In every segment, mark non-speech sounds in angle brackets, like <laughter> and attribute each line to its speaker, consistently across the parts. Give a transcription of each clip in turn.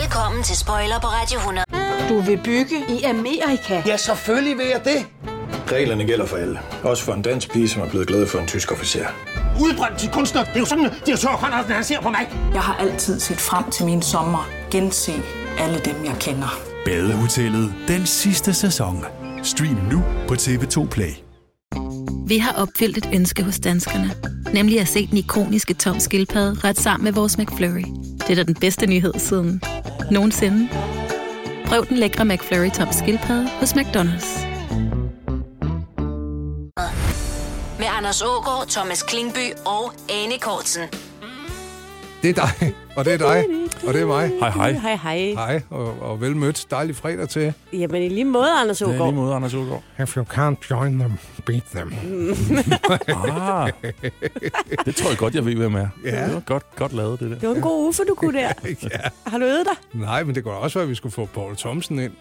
Speaker 1: Velkommen til Spoiler på Radio 100.
Speaker 2: Du vil bygge i Amerika?
Speaker 3: Ja, selvfølgelig vil jeg det.
Speaker 4: Reglerne gælder for alle. Også for en dansk pige, som er blevet glad for en tysk officer.
Speaker 5: Udbrændt til kunstner. Det er jo sådan, at de har tørt, han ser på mig.
Speaker 6: Jeg har altid set frem til min sommer. Gense alle dem, jeg kender.
Speaker 7: Badehotellet den sidste sæson. Stream nu på TV2 Play.
Speaker 8: Vi har opfyldt et ønske hos danskerne. Nemlig at se den ikoniske tom skildpadde ret sammen med vores McFlurry. Det er da den bedste nyhed siden nogensinde. Prøv den lækre McFlurry tom skildpadde hos McDonald's.
Speaker 1: Med Anders Ågaard, Thomas Klingby og Anne Kortsen.
Speaker 9: Det er dig, og det er dig, og det er mig.
Speaker 10: Hej, hej.
Speaker 11: Hej, hej.
Speaker 9: Hej, og, og velmødt. Dejlig fredag til.
Speaker 11: Jamen, i lige måde, Anders
Speaker 10: Ja, lige
Speaker 11: Ågaard.
Speaker 10: måde, Anders Ulgaard.
Speaker 9: If you can't join them, beat them.
Speaker 10: Ah, det tror jeg godt, jeg ved, hvem er.
Speaker 9: Ja.
Speaker 10: Det var godt, godt lavet, det der.
Speaker 11: Det var en god uffe, du kunne der.
Speaker 9: ja.
Speaker 11: Har du øvet dig?
Speaker 9: Nej, men det kunne da også være, at vi skulle få Paul Thomsen ind.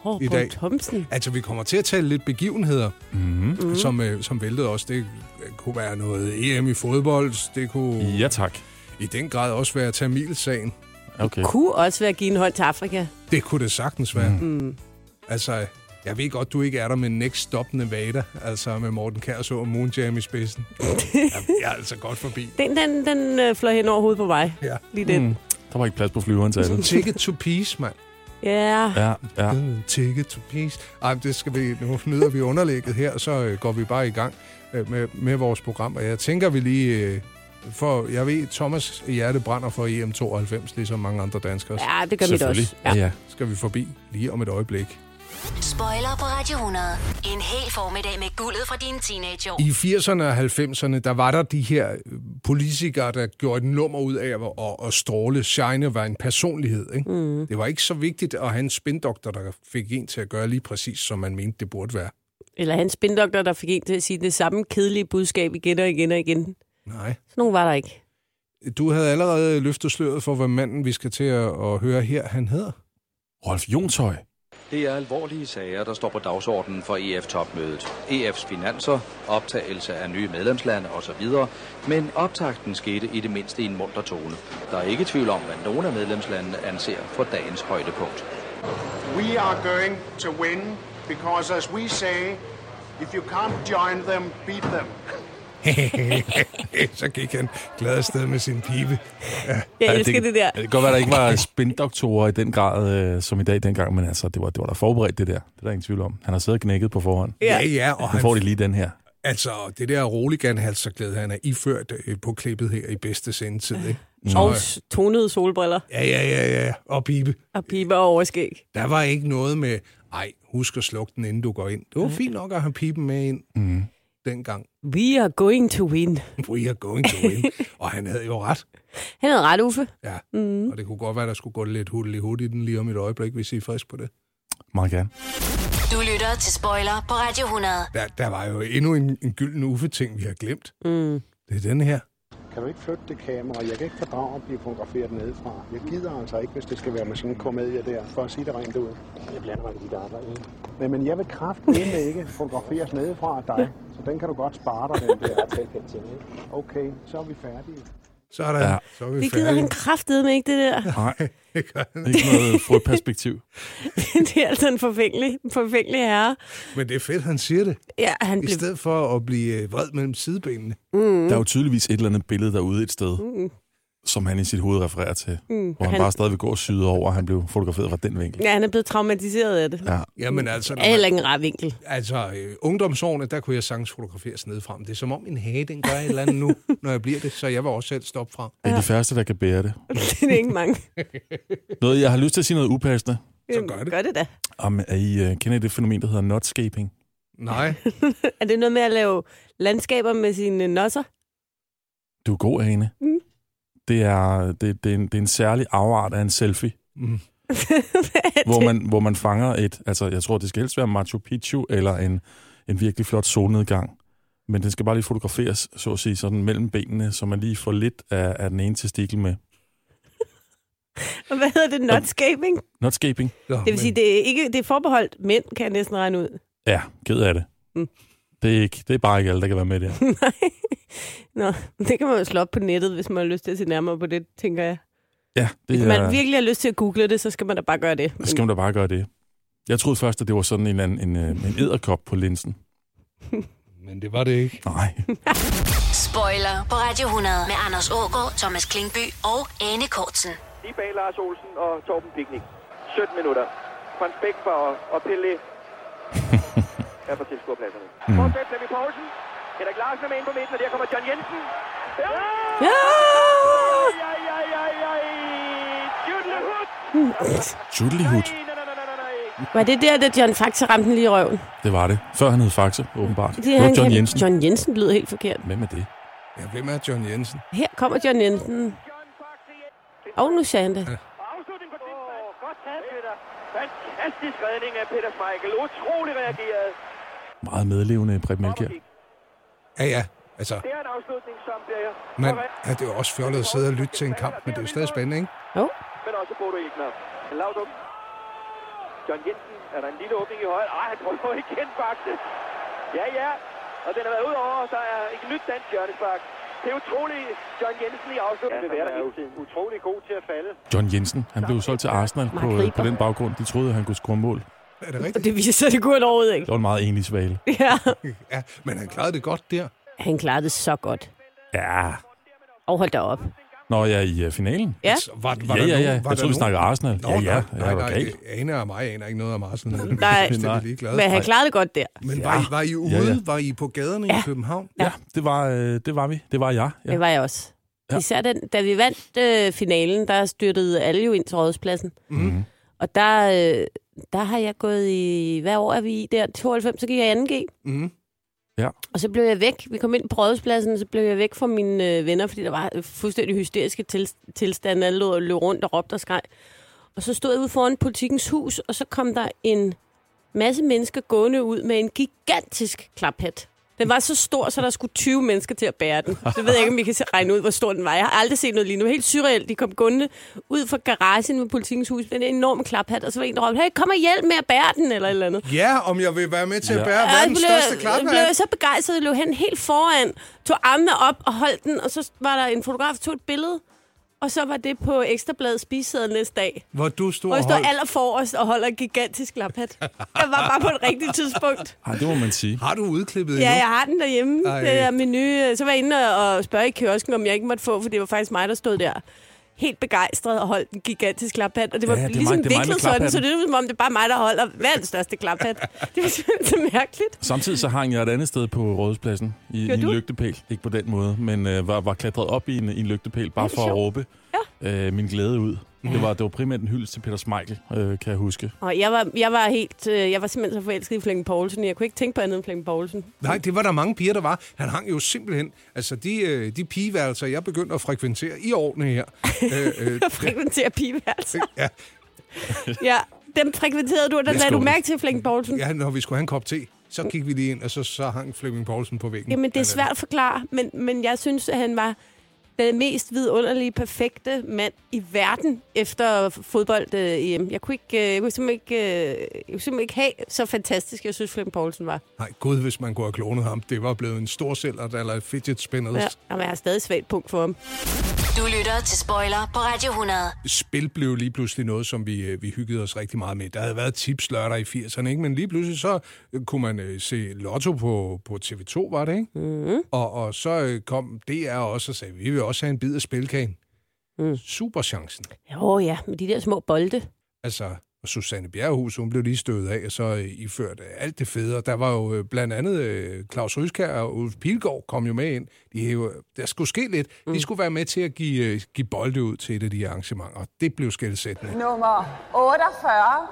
Speaker 11: Hår
Speaker 9: I
Speaker 11: på
Speaker 9: dag.
Speaker 11: Thomsen. Mhm.
Speaker 9: Altså, vi kommer til at tale lidt begivenheder, mm-hmm. som, øh, som væltede os. Det øh, kunne være noget EM i fodbold. Det kunne ja.
Speaker 10: Ja, tak.
Speaker 9: i den grad også være Tamilsagen.
Speaker 10: Okay.
Speaker 11: Kunne også være at give en hånd til Afrika.
Speaker 9: Det kunne det sagtens være. Mm. Altså, jeg ved godt, du ikke er der med Next Stop Nevada, altså med Morten Kærs og Moon Jam i
Speaker 11: <laughs>
Speaker 9: spidsen. Jamen, jeg er altså godt forbi.
Speaker 11: Den, den, den øh, fløj hen over hovedet på mig.
Speaker 9: Ja.
Speaker 11: Lige den. Mm.
Speaker 10: Mm. Der var ikke plads på flyveren til alle.
Speaker 9: Ticket to peace, mand.
Speaker 11: Ja.
Speaker 10: Ja, ja.
Speaker 9: Øh, Ticket to peace. Ej, men det skal vi, nu nyder vi underlægget her, så øh, går vi bare i gang øh, med, med vores program. Og jeg tænker, vi lige... Øh, for jeg ved, Thomas hjerte brænder for E EM92, ligesom mange andre danskere. Ja.
Speaker 11: Ja, det gør mit også.
Speaker 10: Ja. ja.
Speaker 9: Skal vi forbi lige om et øjeblik.
Speaker 1: Spoiler på Radio 100. En hel formiddag med guldet fra dine teenageår.
Speaker 9: I 80'erne og 90'erne, der var der de her øh, politikere, der gjorde et nummer ud af at, at, at stråle. Shine var en personlighed. Ikke? Mm. Det var ikke så vigtigt at have en spindoktor, der fik en til at gøre lige præcis, som man mente, det burde være.
Speaker 11: Eller hans spindoktor, der fik en til at sige det samme kedelige budskab igen og igen og igen.
Speaker 9: Nej.
Speaker 11: Sådan nogen var der ikke.
Speaker 9: Du havde allerede løftet sløret for, hvad manden, vi skal til at, at høre her, han hedder. <laughs>
Speaker 10: Rolf Jonshøj.
Speaker 12: Det er alvorlige sager, der står på dagsordenen for E EF-topmødet. EF's finanser, optagelse af nye medlemslande osv., men optakten skete i det mindste i en munter tone. Der er ikke tvivl om, hvad nogle af medlemslandene anser for dagens højdepunkt.
Speaker 5: We are going to win, because as we say, if you can't join them, beat them.
Speaker 9: Så gik han glad afsted med sin pibe.
Speaker 11: Jeg
Speaker 10: Ja,
Speaker 11: elsker det, det der.
Speaker 10: Det kan godt være, der ikke var spindoktorer i den grad, øh, som i dag dengang, men altså, det var, det var da forberedt, det der. Det er der ingen tvivl om. Han har siddet og knækket på forhånd.
Speaker 9: Ja, ja, og
Speaker 10: Nu får de
Speaker 9: han,
Speaker 10: lige den her.
Speaker 9: altså, det der roligan-halserklæde, han er iført øh, på klippet her i bedste sendetid. Ikke?
Speaker 11: Og s- tonede solbriller
Speaker 9: Ja, ja, ja, ja, og pibe.
Speaker 11: og piber og overskæg.
Speaker 9: Der var ikke noget med, ej, husk at slukke den, inden du går ind.
Speaker 11: Mm.
Speaker 9: Det var fint nok at have pipen med ind mm. dengang.
Speaker 11: We are going to win.
Speaker 9: <laughs> We are going to
Speaker 11: <laughs>
Speaker 9: win. og han havde jo ret.
Speaker 11: Han havde ret, Uffe.
Speaker 9: Ja, mm. og det kunne godt være, der skulle gå lidt hul i hul i den lige om et øjeblik, hvis I er frisk på det.
Speaker 10: Meget gerne.
Speaker 1: Du lytter til Spoiler på Radio 100.
Speaker 9: Der, der var jo endnu en, en gylden uffe-ting, vi har glemt. Mm. Det er den her.
Speaker 5: Kan du ikke flytte det kamera? Jeg kan ikke fordrage at blive fotograferet nedefra. Jeg gider altså ikke, hvis det skal være med sådan en komedie der, for at sige det rent ud. Jeg blander mig i dit arbejde. ikke? Nej, men jeg vil kraftedeme ikke fotograferes nedefra af dig, så den kan du godt spare dig, den der. Okay, så er vi færdige.
Speaker 9: Sådan.
Speaker 10: Ja.
Speaker 9: Så er vi
Speaker 11: Det gider han kraftedeme ikke, det der. <laughs>
Speaker 10: Nej,
Speaker 9: han...
Speaker 10: det er ikke noget frøperspektiv.
Speaker 11: Mm. det er altså en forfængelig, forfængelig herre.
Speaker 9: Men det er fedt, han siger det.
Speaker 11: Ja, han
Speaker 9: I
Speaker 11: blev
Speaker 9: stedet for at blive øh, vred mellem sidebenene.
Speaker 10: Der er jo tydeligvis et eller andet billede derude et sted, mm. som han i sit hoved refererer til, mm. hvor
Speaker 11: Han-
Speaker 10: han, han bare stadigvæk går og syder over, at han blev fotograferet fra den vinkel.
Speaker 11: Ja, han er blevet traumatiseret af det. Ja.
Speaker 10: Ja.
Speaker 9: Jamen altså, når
Speaker 11: Er heller
Speaker 9: man,
Speaker 11: ikke en rar vinkel. <laughs>
Speaker 9: altså øh, ungdomsårene, der kunne jeg sagtens fotograferes nedefra. Men Det er som om min hage, den gør et eller andet nu, når jeg bliver det, så jeg var også selv stoppe fra.
Speaker 10: Det er de færreste, der kan bære det.
Speaker 11: det er ikke mange.
Speaker 10: Noget, jeg har lyst til at sige noget upassende.
Speaker 9: Så gør det.
Speaker 11: Gør det da.
Speaker 10: Om, er I uh, kender I det fænomen, der hedder nutscaping?
Speaker 9: <laughs> Nej,
Speaker 11: Er det noget med at lave landskaber med sine nosser?
Speaker 10: Du er god, Ane.
Speaker 11: Mm.
Speaker 10: Det, er, det, det, er en, det er en særlig afart af en
Speaker 11: <laughs>
Speaker 10: selfie,
Speaker 9: Mm.
Speaker 11: Hvad er
Speaker 10: hvor
Speaker 11: det?
Speaker 10: man, hvor man fanger et... Altså, jeg tror, det skal helst være Machu Picchu eller en, en virkelig flot solnedgang. Men den skal bare lige fotograferes, så at sige, sådan mellem benene, så man lige får lidt af, af den ene testikel med.
Speaker 11: Og Hvad hedder det? Nutscaping?
Speaker 10: Nutscaping?
Speaker 9: Nå,
Speaker 11: Det vil sige, det er, ikke, det er forbeholdt mænd, kan jeg næsten regne ud.
Speaker 10: Ja, ked af det.
Speaker 11: Mm.
Speaker 10: Det, er ikke, det er bare ikke alle, der kan være
Speaker 11: <laughs>
Speaker 10: med der.
Speaker 11: Nå, det kan man jo slå op på nettet, hvis man har lyst til at se nærmere på det, tænker jeg.
Speaker 10: Ja,
Speaker 11: Hvis
Speaker 10: det
Speaker 11: man
Speaker 10: er,
Speaker 11: virkelig har lyst til at google det, så skal man da bare gøre det.
Speaker 10: skal man da bare gøre det. Jeg troede først, at det var sådan en, eller anden- en, øh, en æderkop på linsen.
Speaker 9: Men det var det ikke.
Speaker 10: Nej.
Speaker 1: Spoiler på Radio 100 med Anders Ågaard, Thomas Klingby og Anne Kortsen.
Speaker 3: Lige bag Lars Olsen og Torben Piknik. 17 minutter. Frans Bæk for og
Speaker 9: <laughs>
Speaker 3: Pelle er på tilskuerpladserne. Mm. Fortsæt Flemming Poulsen. Henrik Larsen er med ind på midten, og der kommer John Jensen. Ja!
Speaker 11: Ja!
Speaker 3: Ja, ja, ja, ja. Jytlehood!
Speaker 10: Judlihut,
Speaker 11: Var det der, da John Faxe ramte den lige i røven?
Speaker 10: det var det. Før han hed Faxe, åbenbart. Det,
Speaker 11: han
Speaker 10: var John
Speaker 11: kan-
Speaker 10: Jensen.
Speaker 11: John Jensen lyder helt forkert.
Speaker 10: Hvem er det?
Speaker 9: Ja, hvem er John Jensen?
Speaker 11: Her kommer John Jensen. Og nu sagde han det.
Speaker 3: Godt taget, Peter. Fantastisk redning af Peter Schmeichel. Utrolig reageret.
Speaker 10: Meget medlevende Preben Elkjær.
Speaker 9: Ja, ja. Altså,
Speaker 3: Det er en afslutning, som bliver...
Speaker 9: man, ja, det er jo også fjollet at sidde og lytte til en kamp, men det er jo stadig spændende, ikke?
Speaker 11: Jo.
Speaker 3: Men også Bodo Egner. Laudrup. John Jensen. Er der en lille åbning i højre? Ej, han prøver <laughs> igen, Bakse. Ja, ja. Og den har været ud over, og der er et nyt dansk hjørnespark. Det er utroligt, John Jensen i afslutningen ja, vil være der hele tiden. Utrolig god til at falde.
Speaker 10: John Jensen, han blev solgt til Arsenal
Speaker 3: Mark
Speaker 10: på, øh,
Speaker 3: Riber.
Speaker 10: på den baggrund. De troede, han kunne score mål.
Speaker 9: Er det rigtigt?
Speaker 11: Og det viser sig, at det kunne han overhovedet ikke.
Speaker 10: Det var en meget enlig svale.
Speaker 11: Ja.
Speaker 9: Ja, men han klarede det godt der.
Speaker 11: Han klarede det så godt.
Speaker 10: Ja.
Speaker 11: Og hold da op.
Speaker 10: Nå, jeg er i øh, finalen.
Speaker 11: Ja.
Speaker 9: Var, Altså, var
Speaker 10: ja,
Speaker 9: der
Speaker 10: ja,
Speaker 9: nogen-
Speaker 10: ja.
Speaker 9: var der
Speaker 10: jeg troede, vi
Speaker 9: nogen-
Speaker 10: snakkede Arsenal.
Speaker 9: Nå,
Speaker 10: ja, ja.
Speaker 9: nej,
Speaker 10: jeg
Speaker 9: nej,
Speaker 10: var
Speaker 9: nej,
Speaker 10: galt.
Speaker 9: Ane og mig aner ikke noget om Arsenal.
Speaker 11: Nej.
Speaker 9: nej. Ligeglade.
Speaker 11: Men han klarede det godt der.
Speaker 9: Men var, I, var I ude?
Speaker 10: Ja,
Speaker 9: Ja,
Speaker 10: ja.
Speaker 9: ja. Var I på gaderne i København?
Speaker 10: Ja, det var, øh, det var vi. Det var jeg.
Speaker 11: Det
Speaker 10: Ja.
Speaker 11: var jeg også. Ja. Især den, da vi vandt øh, finalen, der styrtede alle jo ind til rådspladsen.
Speaker 10: Mhm.
Speaker 11: Og der, øh, der har jeg gået i... Hvad år er vi i der? 92, så gik jeg i 2G.
Speaker 9: Mm.
Speaker 10: Ja.
Speaker 11: Og så blev jeg væk. Vi kom ind på rådspladsen, så blev jeg væk fra mine øh, venner, fordi der var øh, fuldstændig hysteriske til, tilstande. Alle løb, løb rundt og råbte og skreg. Og så stod jeg ude foran politikens hus, og så kom der en masse mennesker gående ud med en gigantisk klaphat. Den var så stor, så der skulle 20 mennesker til at bære den. Så ved jeg ikke, om I kan se- regne ud, hvor stor den var. Jeg har aldrig set noget lignende. Det var Helt surreelt. De kom gående ud fra garagen ved politikens hus med en enorm klaphat, og så var en, der råbte, hey, kom og hjælp med at bære den, eller et eller andet.
Speaker 9: Ja, om jeg vil være med til at bære
Speaker 11: Ja,
Speaker 9: verdens
Speaker 11: jeg
Speaker 9: største
Speaker 11: blev, blev jeg
Speaker 9: klaphat.
Speaker 11: så begejstret, at jeg løb hen helt foran, tog armene op og holdt den, og så var der en fotograf, der tog et billede, og så var det på Ekstrabladets spisesæde næste dag.
Speaker 9: Hvor du stod
Speaker 11: Hvor jeg
Speaker 9: og
Speaker 11: står
Speaker 9: holdt.
Speaker 11: aller forrest og holder en gigantisk laphat. Jeg var bare på et rigtigt
Speaker 10: <laughs>
Speaker 11: tidspunkt.
Speaker 10: Ej, det må man sige.
Speaker 9: Har du udklippet
Speaker 11: Ja,
Speaker 9: endnu?
Speaker 11: jeg har den derhjemme.
Speaker 9: Ej.
Speaker 11: Det der menu. Så var jeg inde og og spørge i kiosken, om jeg ikke måtte få, for det var faktisk mig, der stod der helt begejstret og holdt en gigantisk klaphat. Og det var
Speaker 10: Ja,
Speaker 11: ja,
Speaker 10: det er
Speaker 11: ligesom
Speaker 10: mig- det er mig med
Speaker 11: viklet sådan, så
Speaker 10: klaphatten.
Speaker 11: det er som om, det er bare mig, der holder verdens største klaphat. <laughs> Det var simpelthen så mærkeligt.
Speaker 10: Samtidig så hang jeg et andet sted på Rådhuspladsen i, i
Speaker 11: Gjorde
Speaker 10: en
Speaker 11: du?
Speaker 10: lygtepæl. Ikke på den måde, men øh, var, var klatret op i en, i en lygtepæl, bare for at råbe øh, min glæde ud. Det var, det var primært en hyldest til Peter Smeichel, øh, kan jeg huske.
Speaker 11: Og jeg var, jeg var helt, øh, jeg var simpelthen så forelsket i Flemming Poulsen. Jeg kunne ikke tænke på andet end Flemming Poulsen.
Speaker 9: Nej, det var der mange piger, der var. Han hang jo simpelthen... Altså, de, øh, de pigeværelser, jeg begyndte at frekventere i årene her... Øh,
Speaker 11: <laughs>
Speaker 9: øh,
Speaker 11: Frekventere <laughs> pigeværelser.
Speaker 9: ja,
Speaker 11: Ja, dem frekventerede du, og der
Speaker 9: Lidt
Speaker 11: lagde du
Speaker 9: skuffende.
Speaker 11: mærke til Flemming Poulsen.
Speaker 9: ja, når vi skulle have en kop te, så gik vi lige ind, og så, så hang Flemming Poulsen på væggen.
Speaker 11: Jamen, det er
Speaker 9: Han
Speaker 11: svært at forklare, men, men jeg synes, at han var den mest vidunderlige, perfekte mand i verden efter fodbold-EM. jeg, kunne ikke, øh, jeg, kunne simpelthen ikke, øh, jeg kunne simpelthen ikke have så fantastisk, jeg synes, Flemming Poulsen var.
Speaker 9: Nej, gud, hvis man kunne have klonet ham. Det var blevet en storsælger eller et fidget spinner.
Speaker 11: Ja,
Speaker 9: Ja.
Speaker 11: og jeg har stadig svagt punkt for ham.
Speaker 1: Du lytter til Spoiler på Radio 100.
Speaker 9: Spil blev lige pludselig noget, som vi, øh, vi hyggede os rigtig meget med. Der havde været tips lørdag i 80'erne, ikke? men lige pludselig så øh, kunne man øh, se Lotto på, på TV2, var det, ikke?
Speaker 11: Mm.
Speaker 9: Og, og så øh, kom DR også og sagde, vi vil også have en bid af spilkagen.
Speaker 11: Mm.
Speaker 9: Superchancen.
Speaker 11: Jo ja, med de der små bolde.
Speaker 9: Altså, og Susanne Bjerrehus, hun blev lige støvet af, og så øh, iført øh, alt det fede. Og der var jo øh, blandt andet øh, Claus Ryskær og Ulf Pilgaard kom jo med ind. De, havde jo- der skulle ske lidt. Mm. De skulle være med til at give, øh, give bolde ud til et af de arrangementer, og det blev skældsættende.
Speaker 13: Nummer 48.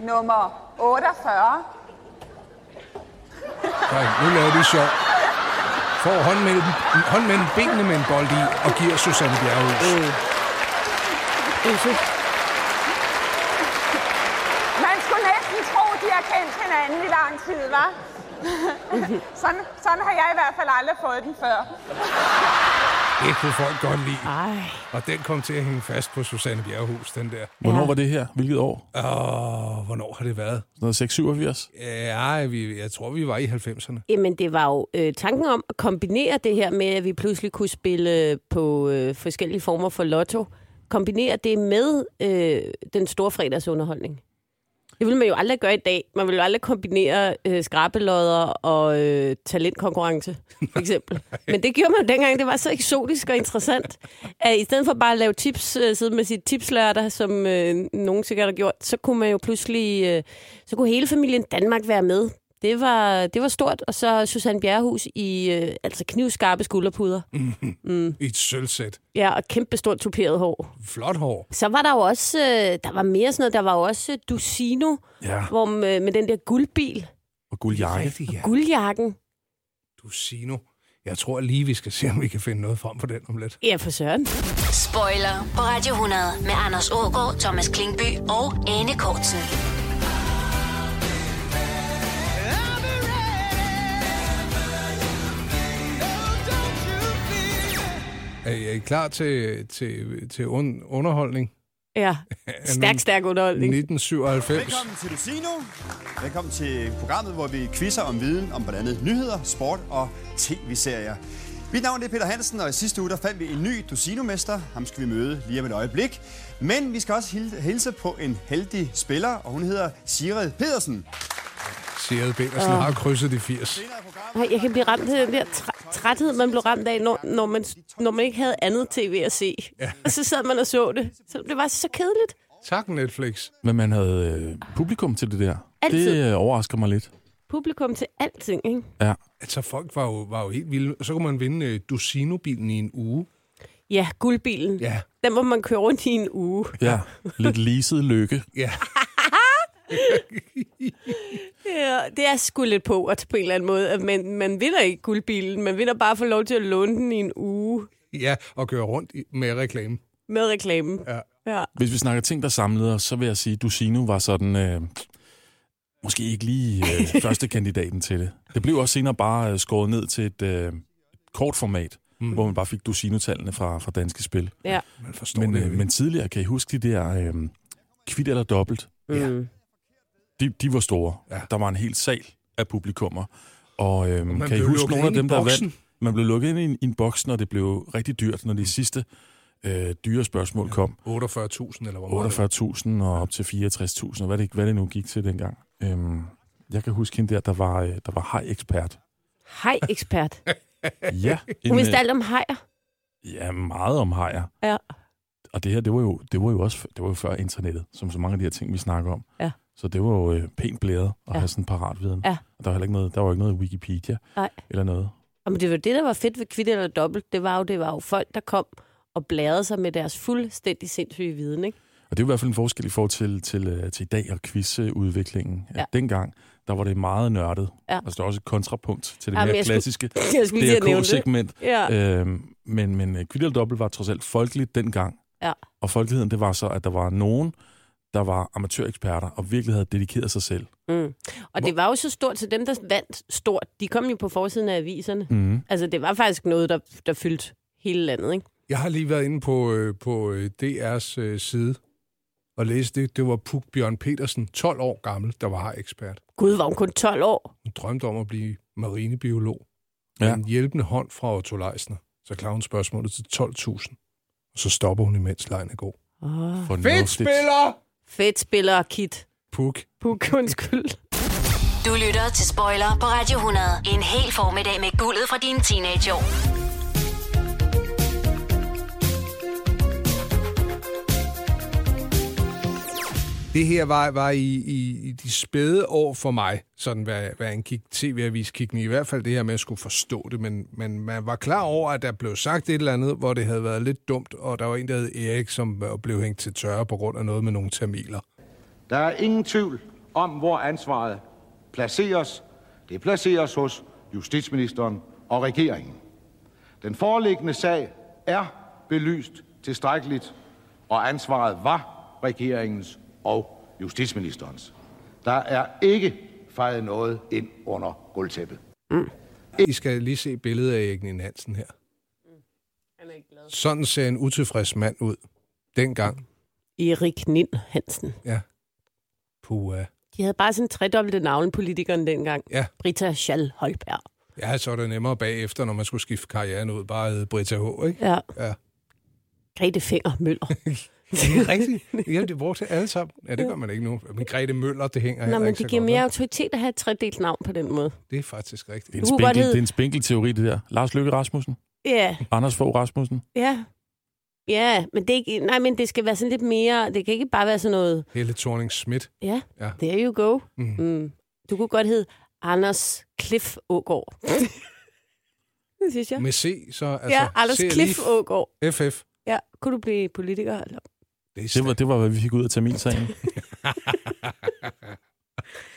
Speaker 13: Nummer 48.
Speaker 9: Nej, nu laver de sjov. Får hånd mellem, hånd mellem benene med en bold i, og giver Susanne Bjerrehus.
Speaker 11: Øh.
Speaker 13: Man skulle næsten tro, de har kendt hinanden i lang tid, hva'? <laughs> sådan, sådan har jeg i hvert fald aldrig fået den før.
Speaker 9: Det kunne folk godt lide.
Speaker 11: Ej.
Speaker 9: Og den kom til at hænge fast på Susanne Bjerrehus, den der.
Speaker 10: Hvornår var det her? Hvilket år?
Speaker 9: Åh, hvornår har det været?
Speaker 10: Sådan noget 687?
Speaker 9: Ja, vi, jeg tror, vi var i 90'erne.
Speaker 11: Jamen, det var jo øh, tanken om at kombinere det her med, at vi pludselig kunne spille øh, på øh, forskellige former for lotto kombinere det med øh, den store fredagsunderholdning. Det ville man jo aldrig gøre i dag. Man ville jo aldrig kombinere øh, skrabelodder og øh, talentkonkurrence, for eksempel. Men det gjorde man jo dengang. Det var så eksotisk og interessant. At I stedet for bare at lave tips, øh, sidde med sit tipslørdag, som øh, nogen sikkert har gjort, så kunne man jo pludselig... Øh, så kunne hele familien Danmark være med. Det var, det var stort. Og så Susanne Bjerrehus i øh, altså knivskarpe skulderpuder.
Speaker 9: Mm. I et sølvsæt.
Speaker 11: Ja, og kæmpe stort tuperet hår.
Speaker 9: Flot hår.
Speaker 11: Så var der jo også, øh, der var mere sådan noget, der var jo også øh, Ducino,
Speaker 9: Ja.
Speaker 11: hvor, øh, med, med den der guldbil,
Speaker 10: Og guldjakke.
Speaker 9: Rigtigt, ja.
Speaker 11: guldjakken.
Speaker 9: Ducino. Jeg tror lige, vi skal se, om vi kan finde noget frem på den om lidt.
Speaker 11: Ja, for søren.
Speaker 1: Spoiler på Radio 100 med Anders Ågaard, Thomas Klingby og Anne Kortsen.
Speaker 9: Er I, er I klar til, til, til un, underholdning? <laughs>
Speaker 11: Ja, stærk, stærk underholdning.
Speaker 9: 1997.
Speaker 14: Velkommen til Lucino. Velkommen til programmet, hvor vi quizzer om viden om blandt andet nyheder, sport og tv-serier. Mit navn er Peter Hansen, og i sidste uge der fandt vi en ny Dusinomester. Ham skal vi møde lige om et øjeblik. Men vi skal også hil- hilse på en heldig spiller, og hun hedder Sigrid Pedersen.
Speaker 9: Sigrid Petersen
Speaker 11: Åh.
Speaker 9: har krydset de 80.
Speaker 11: Nej, jeg kan blive ramt af den der træ- træthed, man blev ramt af, når, når, man, når man ikke havde andet tv at se. Ja. Og så sad man og så det. Så det var så kedeligt.
Speaker 9: Tak, Netflix.
Speaker 10: Men man havde øh, publikum til det der.
Speaker 11: Altid.
Speaker 10: Det øh, overrasker mig lidt.
Speaker 11: Publikum til alting, ikke?
Speaker 10: Ja.
Speaker 9: Altså, folk var jo, var jo helt vilde. Så kunne man vinde øh, Ducino-bilen i en uge.
Speaker 11: Ja, guldbilen.
Speaker 9: Ja.
Speaker 11: Den må man køre rundt i en uge.
Speaker 10: Ja, lidt leaset lykke.
Speaker 11: <laughs>
Speaker 9: Ja.
Speaker 11: Ja, det er sgu lidt på, at på en eller anden måde, at man, man vinder ikke guldbilen, man vinder bare at få lov til at låne den i en uge
Speaker 9: Ja, og køre rundt i- med reklame.
Speaker 11: med reklamen.
Speaker 9: Ja.
Speaker 11: ja.
Speaker 10: Hvis vi snakker ting, der samlede os, så vil jeg sige, at Ducino var sådan... Øh, måske ikke lige
Speaker 9: <laughs>
Speaker 10: øh, første kandidaten til det. Det blev også senere bare øh, skåret ned til et, øh, et kort format, mm. hvor man bare fik Ducino-tallene fra, fra danske spil.
Speaker 11: ja.
Speaker 9: Man forstår
Speaker 10: Men,
Speaker 9: det.
Speaker 10: øh, men tidligere, kan I huske de der øh, kvit eller dobbelt?
Speaker 11: Ja.
Speaker 10: De, de var store.
Speaker 9: Mm. Ja.
Speaker 10: Der var en hel sal af publikummer. Og øhm,
Speaker 9: man
Speaker 10: kan I
Speaker 9: blev
Speaker 10: huske
Speaker 9: lukket
Speaker 10: nogle af
Speaker 9: ind i
Speaker 10: dem, der
Speaker 9: boksen. Mm.
Speaker 10: vandt? Man blev lukket ind i en, i en boks, når det blev rigtig dyrt, når de sidste øh, dyre spørgsmål ja. kom.
Speaker 9: 48.000 eller hvor meget?
Speaker 10: 48.000 og op til 64.000, og hvad det, hvad det nu gik til dengang. Øhm, jeg kan huske hende der, der var, øh, der var haj-ekspert.
Speaker 9: <laughs>
Speaker 11: Hej-ekspert.
Speaker 10: Ja,
Speaker 11: Hun
Speaker 10: en,
Speaker 11: vidste
Speaker 10: øh,
Speaker 11: alt om hajer.
Speaker 10: ja, meget om hajer.
Speaker 11: Ja.
Speaker 10: Og det her, det var jo, det var jo også det var jo før internettet, som så mange af de her ting, vi snakker om.
Speaker 11: Ja.
Speaker 10: Så det var jo øh, pænt blæret at
Speaker 11: Ja.
Speaker 10: ja. have sådan en paratviden.
Speaker 11: Ja.
Speaker 10: Og der var heller ikke noget, der var jo ikke noget Wikipedia
Speaker 11: Nej.
Speaker 10: eller noget.
Speaker 11: Og men det var det, der var fedt ved kvitt eller dobbelt. Det var jo, det var jo folk, der kom og bladrede sig med deres fuldstændig sindssyge viden, ikke?
Speaker 10: Og det er jo i hvert fald en forskel i forhold til, til, øh, til i dag og quizudviklingen.
Speaker 11: Ja.
Speaker 10: Ja. Dengang, der var det meget nørdet.
Speaker 11: Ja.
Speaker 10: Altså, der var også et kontrapunkt til det
Speaker 11: Ja,
Speaker 10: ja,
Speaker 11: men
Speaker 10: mere
Speaker 11: jeg skulle-
Speaker 10: klassiske
Speaker 11: <laughs> jeg skulle lige til at nævne det.
Speaker 10: DRK-segment.
Speaker 11: Ja.
Speaker 10: Øhm, men men øh, Kvitt eller Dobbelt var trods alt folkeligt dengang.
Speaker 11: Ja.
Speaker 10: Og folkeligheden, det var så, at der var nogen, der var amatøreksperter og virkelig havde dedikeret sig selv.
Speaker 11: Mm. Og det var jo så stort, så dem, der vandt stort, de kom jo på forsiden af aviserne.
Speaker 10: Mhm.
Speaker 11: Altså, det var faktisk noget, der, der fyldte hele landet, ikke?
Speaker 9: Jeg har lige været inde på, øh, på øh, DR's øh, side og læst det. Det var Puk Bjørn Petersen, 12 år gammel, der var ekspert.
Speaker 11: Gud, var hun kun 12 år?
Speaker 9: Hun drømte om at blive marinebiolog. Ja.
Speaker 10: Ja.
Speaker 9: En hjælpende hånd fra Otto Leisner. Så klarer hun spørgsmålet til 12.000. Og så stopper hun, imens lejen er god.
Speaker 11: Oh.
Speaker 9: Fedt spiller!
Speaker 11: Fedt spiller, Kit.
Speaker 9: Puk. <laughs>
Speaker 11: Puk, undskyld.
Speaker 1: Du lytter til Spoiler på Radio 100. En hel formiddag med guldet fra dine teenageår.
Speaker 9: Det her var, var i, i, i de spæde år for mig, sådan hvad, hvad en kig, tv-avis kiggende, i hvert fald det her med at skulle forstå det, men, men man var klar over, at der blev sagt et eller andet, hvor det havde været lidt dumt, og der var en, der hed Erik, som øh, blev hængt til tørre på grund af noget med nogle tamiler.
Speaker 15: Der er ingen tvivl om, hvor ansvaret placeres. Det placeres hos justitsministeren og regeringen. Den foreliggende sag er belyst tilstrækkeligt, og ansvaret var regeringens og justitsministerens. Der er ikke fejret noget ind under gulvtæppet.
Speaker 9: I skal lige se billedet af Erik Nien Hansen her.
Speaker 11: Mm.
Speaker 9: Sådan ser en utilfreds mand ud. Dengang.
Speaker 11: Erik Nind Hansen.
Speaker 9: Ja. Pua.
Speaker 11: De havde bare sådan tredobbelte navn, politikeren dengang.
Speaker 9: Ja.
Speaker 11: Brita Schall Holberg.
Speaker 9: Ja, så er det nemmere bagefter, når man skulle skifte karrieren ud, bare hed Britta H., ikke?
Speaker 11: Ja.
Speaker 9: ja.
Speaker 11: Grete Finger Møller.
Speaker 9: <laughs>
Speaker 11: <laughs>
Speaker 9: Det er rigtigt. Jamen, det brugte alle sammen. Ja, det gør man ikke nu. Men Grete Møller, det hænger
Speaker 11: Nå,
Speaker 9: heller
Speaker 11: men
Speaker 9: ikke så
Speaker 11: det giver
Speaker 9: godt,
Speaker 11: mere
Speaker 9: vel?
Speaker 11: autoritet at have et tredelt navn på den måde.
Speaker 9: Det er faktisk rigtigt.
Speaker 10: Det er en,
Speaker 11: Du kunne godt
Speaker 10: spinkel,
Speaker 11: hedde-
Speaker 10: det er en spinkel teori, det der. Lars Løkke Rasmussen.
Speaker 11: Ja,
Speaker 10: Anders Fogh Rasmussen.
Speaker 11: ja. Ja, men det, er ikke, nej, men det skal være sådan lidt mere... Det kan ikke bare være sådan noget...
Speaker 9: Helle thorning Schmidt.
Speaker 11: Ja,
Speaker 9: Ja.
Speaker 11: there you go.
Speaker 9: Mm.
Speaker 11: Mm. Du kunne godt hedde Anders Cliff Ågaard.
Speaker 9: <laughs>
Speaker 11: det synes jeg.
Speaker 9: Med C, så altså...
Speaker 11: ja, Anders
Speaker 9: C er
Speaker 11: Cliff
Speaker 9: lige
Speaker 11: Ågaard.
Speaker 9: FF.
Speaker 11: Ja, kunne du blive politiker? Eller?
Speaker 9: Det,
Speaker 10: det, var, det var, hvad vi fik ud af <laughs> Tamilsagen.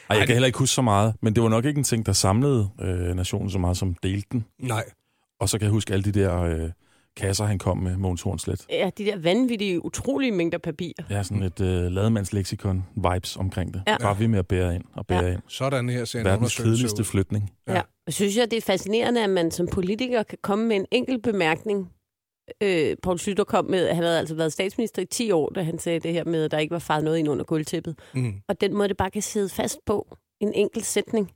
Speaker 10: Ej, jeg kan heller ikke huske så meget, men det var nok ikke en ting, der samlede øh, nationen så meget, som delte den.
Speaker 9: Nej.
Speaker 10: Og så kan jeg huske alle de der øh, kasser, han kom med, Mogens Hornslet.
Speaker 11: Ja, de der vanvittige, utrolige mængder papir.
Speaker 10: Ja, sådan et øh, lademandsleksikon vibes omkring det.
Speaker 11: Ja.
Speaker 10: Ja. Bare vi med at bære ind og bære ja. ind.
Speaker 9: Sådan her ser en
Speaker 10: Verdens
Speaker 9: undersøgelse
Speaker 10: kedeligste
Speaker 9: ud.
Speaker 10: flytning.
Speaker 11: Ja. ja. Synes jeg, det er fascinerende, at man som politiker kan komme med en enkelt bemærkning. Øh, Poul Slytter kom med, at han havde altså været statsminister i 10 år, da han sagde det her med, at der ikke var faret noget ind under gulvtæppet.
Speaker 9: Mm.
Speaker 11: Og den måde, det bare kan sidde fast på, en enkelt sætning,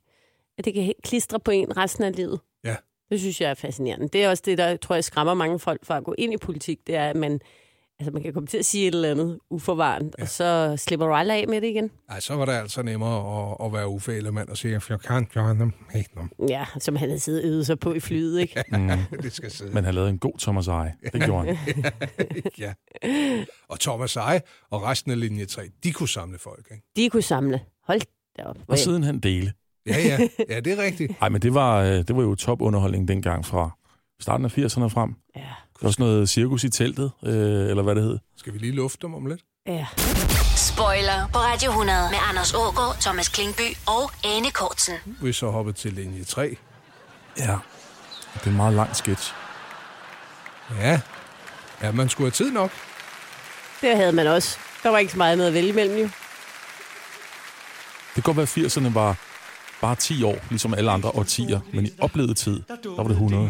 Speaker 11: at det kan he- klistre på en resten af livet.
Speaker 9: Ja.
Speaker 11: Det synes jeg er fascinerende. Det er også det, der tror jeg skræmmer mange folk fra at gå ind i politik, det er, at man, altså, man kan komme til at sige et eller andet uforvarende, ja. og så slipper du aldrig af med det igen.
Speaker 9: Ej, så var det altså nemmere at, at være Uffe Ellemann og sige, at jeg kan gøre dem. Hey, no.
Speaker 11: Ja, som han havde siddet og øvet sig på i flyet, ikke?
Speaker 10: Mm.
Speaker 9: <laughs> det skal sidde.
Speaker 10: Men han lavede en god Thomas Eje. Det gjorde <laughs> han.
Speaker 9: ja. Og Thomas Eje og resten af linje 3, de kunne samle folk, ikke?
Speaker 11: De kunne samle. Hold da op.
Speaker 10: Og siden han dele.
Speaker 9: Ja, ja. Ja, det er rigtigt.
Speaker 10: Nej, men det var, øh, det var jo topunderholdning dengang fra starten af 80'erne og frem.
Speaker 11: Ja.
Speaker 10: Der var sådan noget cirkus i teltet, øh, eller hvad det hed.
Speaker 9: Skal vi lige lufte dem om lidt?
Speaker 11: Ja.
Speaker 1: Spoiler på Radio 100 med Anders Ågaard, Thomas Klingby og Anne Kortsen.
Speaker 9: Vi så hoppet til linje 3.
Speaker 10: Ja. Det er en meget lang sketch.
Speaker 9: Ja. Ja, man skulle have tid nok.
Speaker 11: Det havde man også. Der var ikke så meget med at vælge imellem, jo.
Speaker 10: Det kan godt være, at 80'erne var bare 10 år, ligesom alle andre årtier. Men i oplevet tid, der var det 100.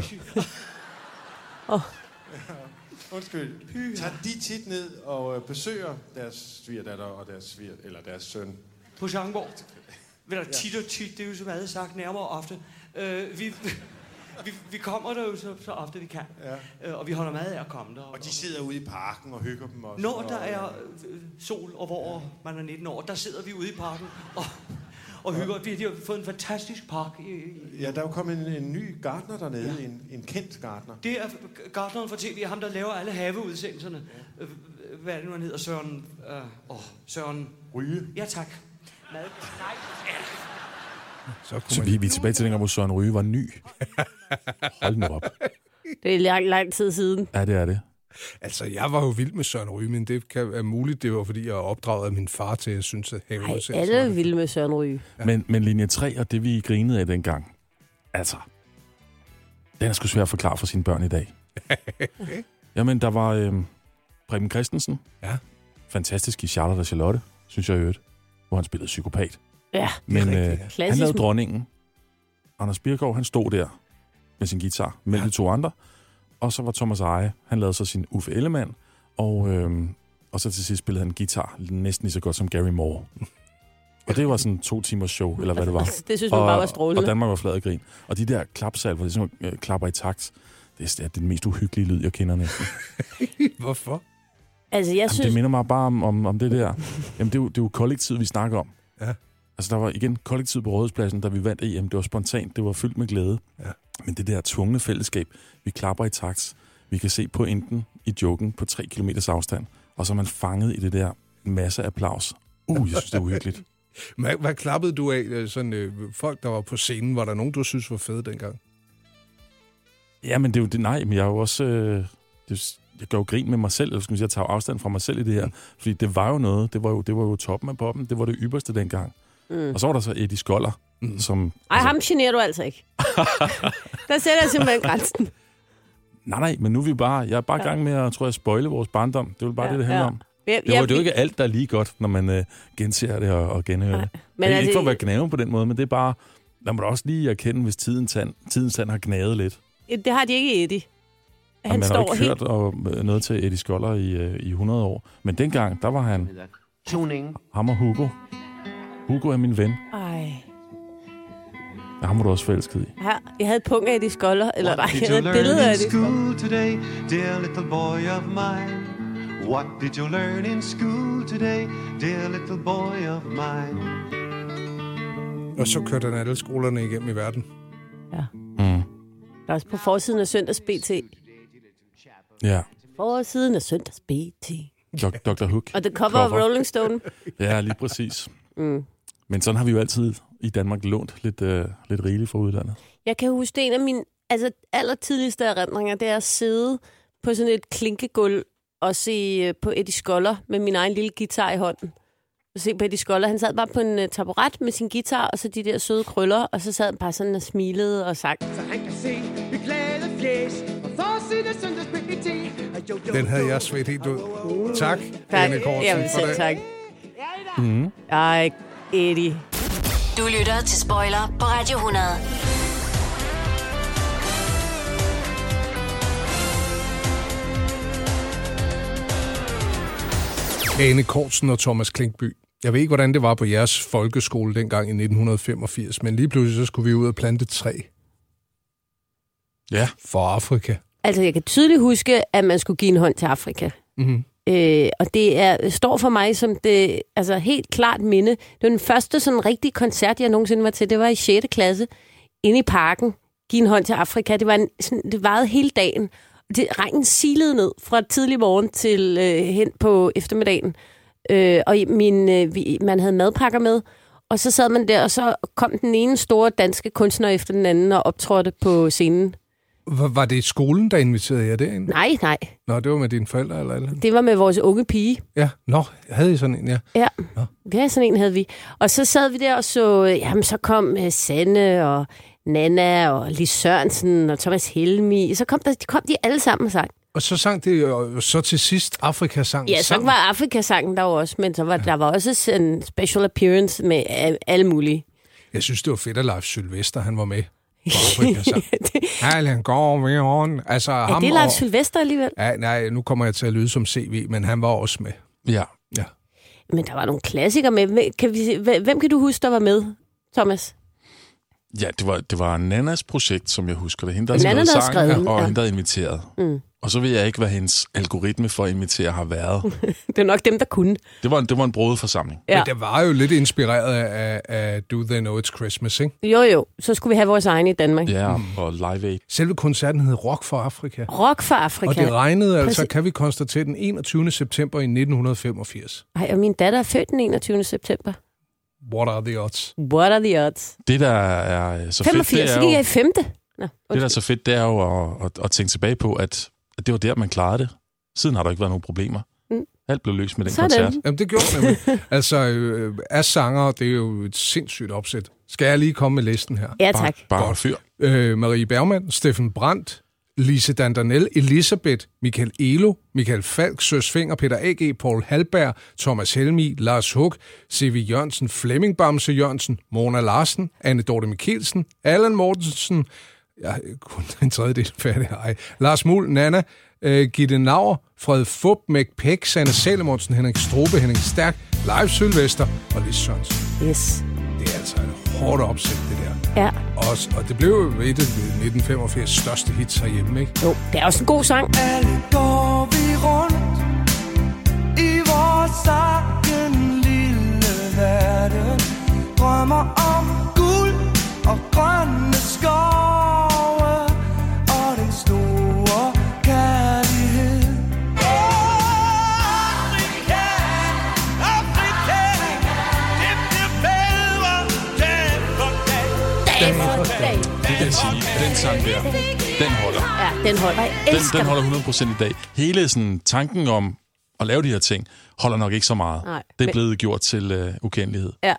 Speaker 16: Undskyld. Tager de tit ned og øh, besøger deres svigerdatter og deres sviger, eller deres søn?
Speaker 17: På Sjangborg. Vel, ja. tit og tit, det er jo som alle sagt, nærmere ofte. Øh, vi, vi, vi kommer der jo så, så ofte vi kan. Ja. Øh, og vi holder meget af at komme der. Og de sidder ude i parken og hygger dem også. Når
Speaker 16: og-
Speaker 17: der er øh, sol, og hvor man er 19 år, der sidder vi ude i parken og, og hygger. Vi, de har fået en fantastisk park. I, i,
Speaker 16: Ja, der er jo kommet en, en ny gartner dernede, ja. en, en kendt gartner.
Speaker 17: det er Gardneren fra TV, ham der laver alle haveudsendelserne. Øh, Hvad er det nu, han hedder? Søren... Øh, åh, Søren... Ryge? Ja, tak. Mad. Nej,
Speaker 9: Så,
Speaker 10: Så vi, vi er tilbage til dengang, hvor Søren Ryge var ny. Hold nu op.
Speaker 11: Det er lang, lang tid siden.
Speaker 10: Ja, det er det.
Speaker 9: Altså, jeg var jo vild med Søren Ryge, men det kan, er muligt, det var fordi, jeg er opdraget af min far til, at jeg synes, at have
Speaker 11: Ej, alle er vilde med Søren Ryge.
Speaker 10: Ja. Men, men linje 3 og det, vi grinede af dengang, altså, den er sgu svær at forklare for sine børn i dag. Jamen, der var øh, Preben Christensen.
Speaker 9: Ja.
Speaker 10: Fantastisk i Charlotte og Charlotte, synes jeg i øvrigt, hvor han spillede psykopat.
Speaker 11: Ja,
Speaker 10: Men øh, han
Speaker 11: Klassisk.
Speaker 10: lavede dronningen. Anders Birgaard, han stod der med sin guitar mellem ja. de to andre. Og så var Thomas Eje, han lavede så sin Uffe Ellemann. Og, øh, og så til sidst spillede han guitar næsten lige så godt som Gary Moore. Og det var sådan en to timers show, eller hvad det var.
Speaker 11: <laughs> Det synes man bare var strålende.
Speaker 10: Og Danmark var flad af grin. Og de der klapsalver, de sådan, øh, klapper i takt, det er, det er den mest uhyggelige lyd, jeg kender næsten.
Speaker 9: Hvorfor?
Speaker 11: Altså, jeg
Speaker 10: Jamen,
Speaker 11: synes...
Speaker 10: det minder mig bare om, om, om det der. Jamen, det er, jo, det er jo kollektivet, vi snakker om.
Speaker 9: Ja.
Speaker 10: Altså, der var igen kollektivet på Rådhuspladsen, da vi vandt EM. Det var spontant, det var fyldt med glæde.
Speaker 9: Ja.
Speaker 10: Men det der tvungne fællesskab, vi klapper i takt, vi kan se pointen i joken på 3 km afstand, og så er man fanget i det der masse applaus. Uh, jeg synes, det er
Speaker 9: <laughs>
Speaker 10: uhyggeligt.
Speaker 9: Hvad, hvad klappede du af? øh, Sådan, øh, folk, der var på scenen, var der nogen, du synes var fede dengang?
Speaker 10: Ja, men det er jo det, nej, men jeg er jo også... Øh, det, er s- jeg gør jo grin med mig selv, eller skal man sige, jeg tager jo afstand fra mig selv i det her. Mm. Fordi det var jo noget, det var jo, det var jo toppen af poppen, det var det ypperste dengang.
Speaker 11: Mm.
Speaker 10: Mm. Og så var der så Eddie Skoller, mm. som...
Speaker 11: Ej, ham generer du altså
Speaker 10: <laughs>
Speaker 11: ikke. der sætter jeg simpelthen grænsen.
Speaker 10: Nej, nej, men nu er vi bare... Jeg er bare i
Speaker 11: Ja.
Speaker 10: gang med at, tror jeg, spoile vores barndom. Det er jo bare
Speaker 11: Ja,
Speaker 10: ja, det, det handler
Speaker 11: ja.
Speaker 10: ja. om.
Speaker 11: Jeg-
Speaker 10: Det var
Speaker 11: jeg-
Speaker 10: det er jo ikke alt, der er lige godt, når man øh, genser det og, og genhører det. Men
Speaker 11: men
Speaker 10: altså,
Speaker 11: altså-
Speaker 10: ikke for at være gnaven på den måde, men det er bare... Man må da også lige erkende, hvis tiden tand, tidens tand har gnavet lidt.
Speaker 11: Det har de ikke i Eddie. Han
Speaker 10: og man har jo
Speaker 11: står
Speaker 10: ikke
Speaker 11: helt...
Speaker 10: hørt og, øh, noget til Eddie Skoller i, øh, i 100 år. Men dengang, der var han...
Speaker 17: Tuning.
Speaker 10: Ham og Hugo. Hugo er min ven.
Speaker 11: Ej.
Speaker 10: Ja, ham var du også forelsket i.
Speaker 11: Her, jeg havde punkt af de skolder, eller nej,
Speaker 10: did
Speaker 11: jeg
Speaker 10: you
Speaker 11: havde et
Speaker 10: learn
Speaker 11: billede
Speaker 10: in
Speaker 11: af det.
Speaker 16: School today, dear little boy of mine.
Speaker 18: What did you learn in school today, dear little boy of mine?
Speaker 9: Og så kørte han alle skolerne igennem i verden.
Speaker 10: Mm.
Speaker 11: Der er også på forsiden af Søndags BT.
Speaker 10: Ja.
Speaker 11: Forsiden af Søndags BT.
Speaker 10: Dok- Dr. Hook.
Speaker 11: Og the cover of Rolling Stone.
Speaker 10: Ja, lige
Speaker 11: <laughs>
Speaker 10: præcis.
Speaker 11: Mm.
Speaker 10: Men sådan har vi jo altid i Danmark lånt lidt, øh, lidt rigeligt fra udlandet.
Speaker 11: Jeg kan huske, det er en af mine altså, allertidligste erindringer, det er at sidde på sådan et klinkegulv og se øh, på Eddie Skoller med min egen lille guitar i hånden. Og se på Eddie Skoller. Han sad bare på en uh, taburet med sin guitar og så de der søde krøller, og så sad han bare sådan og smilede og sang.
Speaker 19: Han kan se det glade fjes Og forsiden af søndagsbygget
Speaker 9: Den havde jeg svedt helt ud. Tak,
Speaker 11: Tak.
Speaker 9: Anne Kortsen,
Speaker 11: Jamen,
Speaker 9: for
Speaker 11: selv
Speaker 9: det.
Speaker 11: tak.
Speaker 10: Mm.
Speaker 11: Ej, Eddie.
Speaker 1: Du lytter til Spoiler på Radio 100.
Speaker 9: Ane Kortsen og Thomas Klinkby. Jeg ved ikke, hvordan det var på jeres folkeskole dengang i 1985, men lige pludselig så skulle vi ud og plante et træ.
Speaker 10: Ja.
Speaker 9: For Afrika.
Speaker 11: Altså, jeg kan tydeligt huske, at man skulle give en hånd til Afrika.
Speaker 9: Mm-hmm.
Speaker 11: Øh, og det er, står for mig som det altså helt klart minde. Det var den første sådan rigtige koncert, jeg nogensinde var til. Det var i 6. klasse, inde i parken. Giv en hånd til Afrika. Det, var en, sådan, det varede hele dagen. Det, regnen silede ned fra tidlig morgen til øh, hen på eftermiddagen. Øh, og i- min, øh, vi, man havde madpakker med. Og så sad man der, og så kom den ene store danske kunstner efter den anden og optrådte på scenen.
Speaker 9: Var, var det skolen, der inviterede jer derind?
Speaker 11: Nej, nej.
Speaker 9: Nå, det var med dine forældre eller et eller andet?
Speaker 11: Det var med vores unge pige.
Speaker 9: Ja, nå, havde I sådan en, ja.
Speaker 11: Ja. ja, sådan en havde vi. Og så sad vi der og så, øh, jamen så kom øh, Sanne og Nana og Lis Sørensen og Thomas Helmi. Så kom, der, kom de alle sammen og sang.
Speaker 9: Og så sang det jo så til sidst Afrikasang
Speaker 11: Ja, så
Speaker 9: sammen.
Speaker 11: var Afrikasangen der jo også, men så var, der var også en special appearance med øh, alle mulige.
Speaker 9: Jeg synes, det var fedt, at Leif Sylvester, han var med. på
Speaker 11: <laughs>
Speaker 9: Afrikasang. Allan går ved hånden. Altså,
Speaker 11: Er
Speaker 9: ham
Speaker 11: det
Speaker 9: og-
Speaker 11: Lars Sylvester alligevel?
Speaker 9: Ja, nej, nu kommer jeg til at lyde som CV, men han var også med.
Speaker 10: Ja.
Speaker 9: ja.
Speaker 11: Men der var nogle klassikere med. Hvem kan, vi, hvem hvem kan du huske, der var med, Thomas?
Speaker 10: Ja, det var, det var Nannas projekt, som jeg husker det. Hende, der
Speaker 11: Nana,
Speaker 10: havde
Speaker 11: der havde
Speaker 10: skrevet
Speaker 11: skrevet den,
Speaker 10: sangen, og
Speaker 11: ja.
Speaker 10: hende, der havde inviteret.
Speaker 11: Mm.
Speaker 10: Og så ved jeg ikke, hvad hendes algoritme for at invitere har været.
Speaker 11: <laughs> Det er nok dem, der kunne.
Speaker 10: Det var en, det var en broet forsamling.
Speaker 11: Ja.
Speaker 9: Men det var jo lidt inspireret af, af Do They Know It's Christmas, ikke?
Speaker 11: Jo, jo. Så skulle vi have vores egen i Danmark.
Speaker 10: Ja, og Live Aid.
Speaker 9: Selve koncerten hed Rock for Afrika.
Speaker 11: Rock for Afrika.
Speaker 9: Og det regnede altså,
Speaker 11: Præcis.
Speaker 9: kan vi konstatere, den 21. september i 1985.
Speaker 11: Ej, og min datter er født den 21. september.
Speaker 9: What are the odds?
Speaker 11: What are the odds?
Speaker 10: Det, der er øh, så
Speaker 11: 85,
Speaker 10: fedt, det
Speaker 11: så
Speaker 10: er
Speaker 11: gik jeg
Speaker 10: jo,
Speaker 11: i femte. Nå,
Speaker 10: det, der er så fedt, det er jo at, at, at tænke tilbage på, at, at det var der, man klarede det. Siden har der ikke været nogen problemer.
Speaker 11: Mm.
Speaker 10: Alt blev løst med den
Speaker 11: Sådan.
Speaker 10: koncert.
Speaker 9: Jamen, det gjorde det nemlig.
Speaker 11: <laughs>
Speaker 9: altså, øh, af sanger, det er jo et sindssygt opsæt. Skal jeg lige komme med listen her?
Speaker 11: Ja, tak.
Speaker 10: Bare, bare fyr.
Speaker 9: Øh, Marie Bergmann, Steffen Brandt, Lise Dandanel, Elisabeth, Michael Elo, Michael Falk, Søs Finger, Peter A.G., Paul Halberg, Thomas Helmi, Lars Hug, C.V. Jørgensen, Flemming Bamse Jørgensen, Mona Larsen, Anne Dorte Mikkelsen, Allan Mortensen, ja, kun en tredjedel <laughs> færdig, ej. Lars Mul, Nana, øh, Gitte Nauer, Fred Fup, Mæk Pæk, Sanne Salomonsen, Henrik Strobe, Henrik Stærk, Leif Sylvester og Lis Sørensen.
Speaker 11: Yes.
Speaker 9: Det er altså et hårdt opsæt, det der.
Speaker 11: Ja.
Speaker 9: Og, og det blev jo et af 1985 største hits herhjemme, ikke?
Speaker 11: Jo, det er også en god sang.
Speaker 19: Alle går vi rundt i vores egen lille verden. Drømmer om guld og grønne skove og den store kærlighed. Afrika, Afrika, det bliver bedre dag for dag.
Speaker 10: Dag for dag. Det kan jeg sige, at den sang der, den holder.
Speaker 11: Ja, den holder. Jeg
Speaker 10: Den,
Speaker 11: elsker
Speaker 10: den holder 100% i dag. Hele sådan, tanken om at lave de her ting, holder nok ikke så meget.
Speaker 11: Nej.
Speaker 10: det er
Speaker 11: Men-
Speaker 10: blevet gjort til øh, ukendelighed.
Speaker 11: Ja.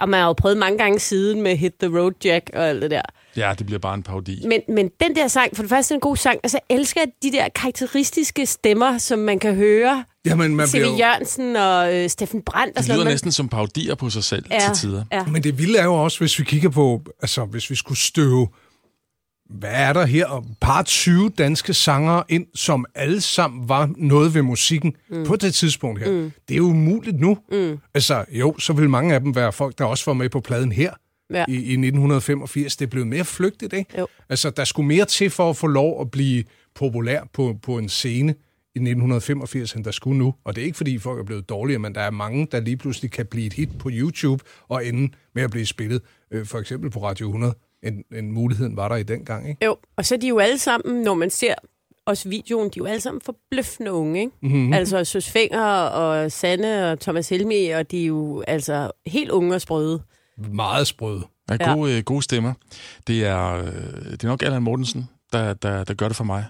Speaker 11: Og man har jo prøvet mange gange siden med Hit the Road Jack og alt det der.
Speaker 10: Ja, det bliver bare en parodi.
Speaker 11: Men, men den der sang, for det første er en god sang, og så elsker jeg de der karakteristiske stemmer, som man kan høre.
Speaker 9: Jamen, man
Speaker 11: C.V.
Speaker 9: bliver jo-
Speaker 11: Jørgensen og øh, Steffen Brandt. Og
Speaker 10: Det
Speaker 11: sådan
Speaker 10: lyder
Speaker 11: noget.
Speaker 10: næsten som parodier på sig selv
Speaker 11: Ja,
Speaker 10: til tider.
Speaker 11: ja.
Speaker 9: Men det vilde er jo også, hvis vi kigger på, altså hvis vi skulle støve, hvad er der her, og par 20 danske sanger ind, som alle sammen var noget ved musikken mm. på det tidspunkt her. Mm. Det er jo umuligt nu. Mm. Altså jo, så vil mange af dem være folk, der også var med på pladen her.
Speaker 11: Ja.
Speaker 9: I, I 1985. Det blev mere flygtigt, ikke?
Speaker 11: Jo.
Speaker 9: Altså, der skulle mere til for at få lov at blive populær på, på en scene i 1985, end der skulle nu. Og det er ikke, fordi folk er blevet dårligere, men der er mange, der lige pludselig kan blive et hit på YouTube og ende med at blive spillet, øh, for eksempel på Radio 100, end, end muligheden var der i dengang. Ikke?
Speaker 11: Jo, og så er de jo alle sammen, når man ser også videoen, de er jo alle sammen forbløffende unge, ikke?
Speaker 9: Mhm.
Speaker 11: Mm-hmm. Altså Søs Fenger og Sanne og Thomas Helmi, og de er jo altså helt unge og sprøde.
Speaker 9: Meget sprøde.
Speaker 10: Der er
Speaker 11: Ja.
Speaker 10: gode, øh, gode stemmer. Det er, øh, det er nok Allan Mortensen, der, der, der gør det for mig.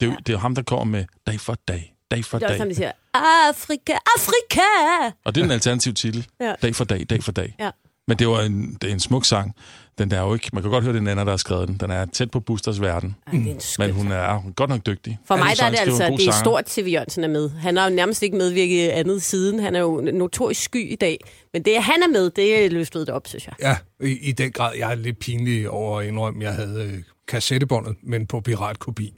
Speaker 10: Det er, jo- det er jo ham, der kommer med dag for dag, dag for
Speaker 11: Det er også
Speaker 10: dag.
Speaker 11: ham, de siger, Afrika, Afrika!
Speaker 10: Og det er en alternativ titel.
Speaker 11: Ja.
Speaker 10: Dag for dag, dag for dag.
Speaker 11: Ja.
Speaker 10: Men det var en, det er en smuk sang. Den der er jo ikke, man kan godt høre, det er en anden, der har skrevet den. Den er tæt på Busters verden.
Speaker 11: Ej, det er en
Speaker 10: Mm. Men hun er hun er godt nok dygtig.
Speaker 11: For mig
Speaker 10: Anden
Speaker 11: der er det
Speaker 10: sangskriver,
Speaker 11: altså,
Speaker 10: en god
Speaker 11: det er
Speaker 10: sanger.
Speaker 11: stort, TV Jørgensen er med. Han har jo nærmest ikke medvirket i andet siden. Han er jo notorisk sky i dag. Men det, at han er med, det løftede det op, synes jeg.
Speaker 9: Ja, i, i den grad. Jeg er lidt pinlig over at indrømme, at jeg havde øh, kassettebåndet, men på piratkopi.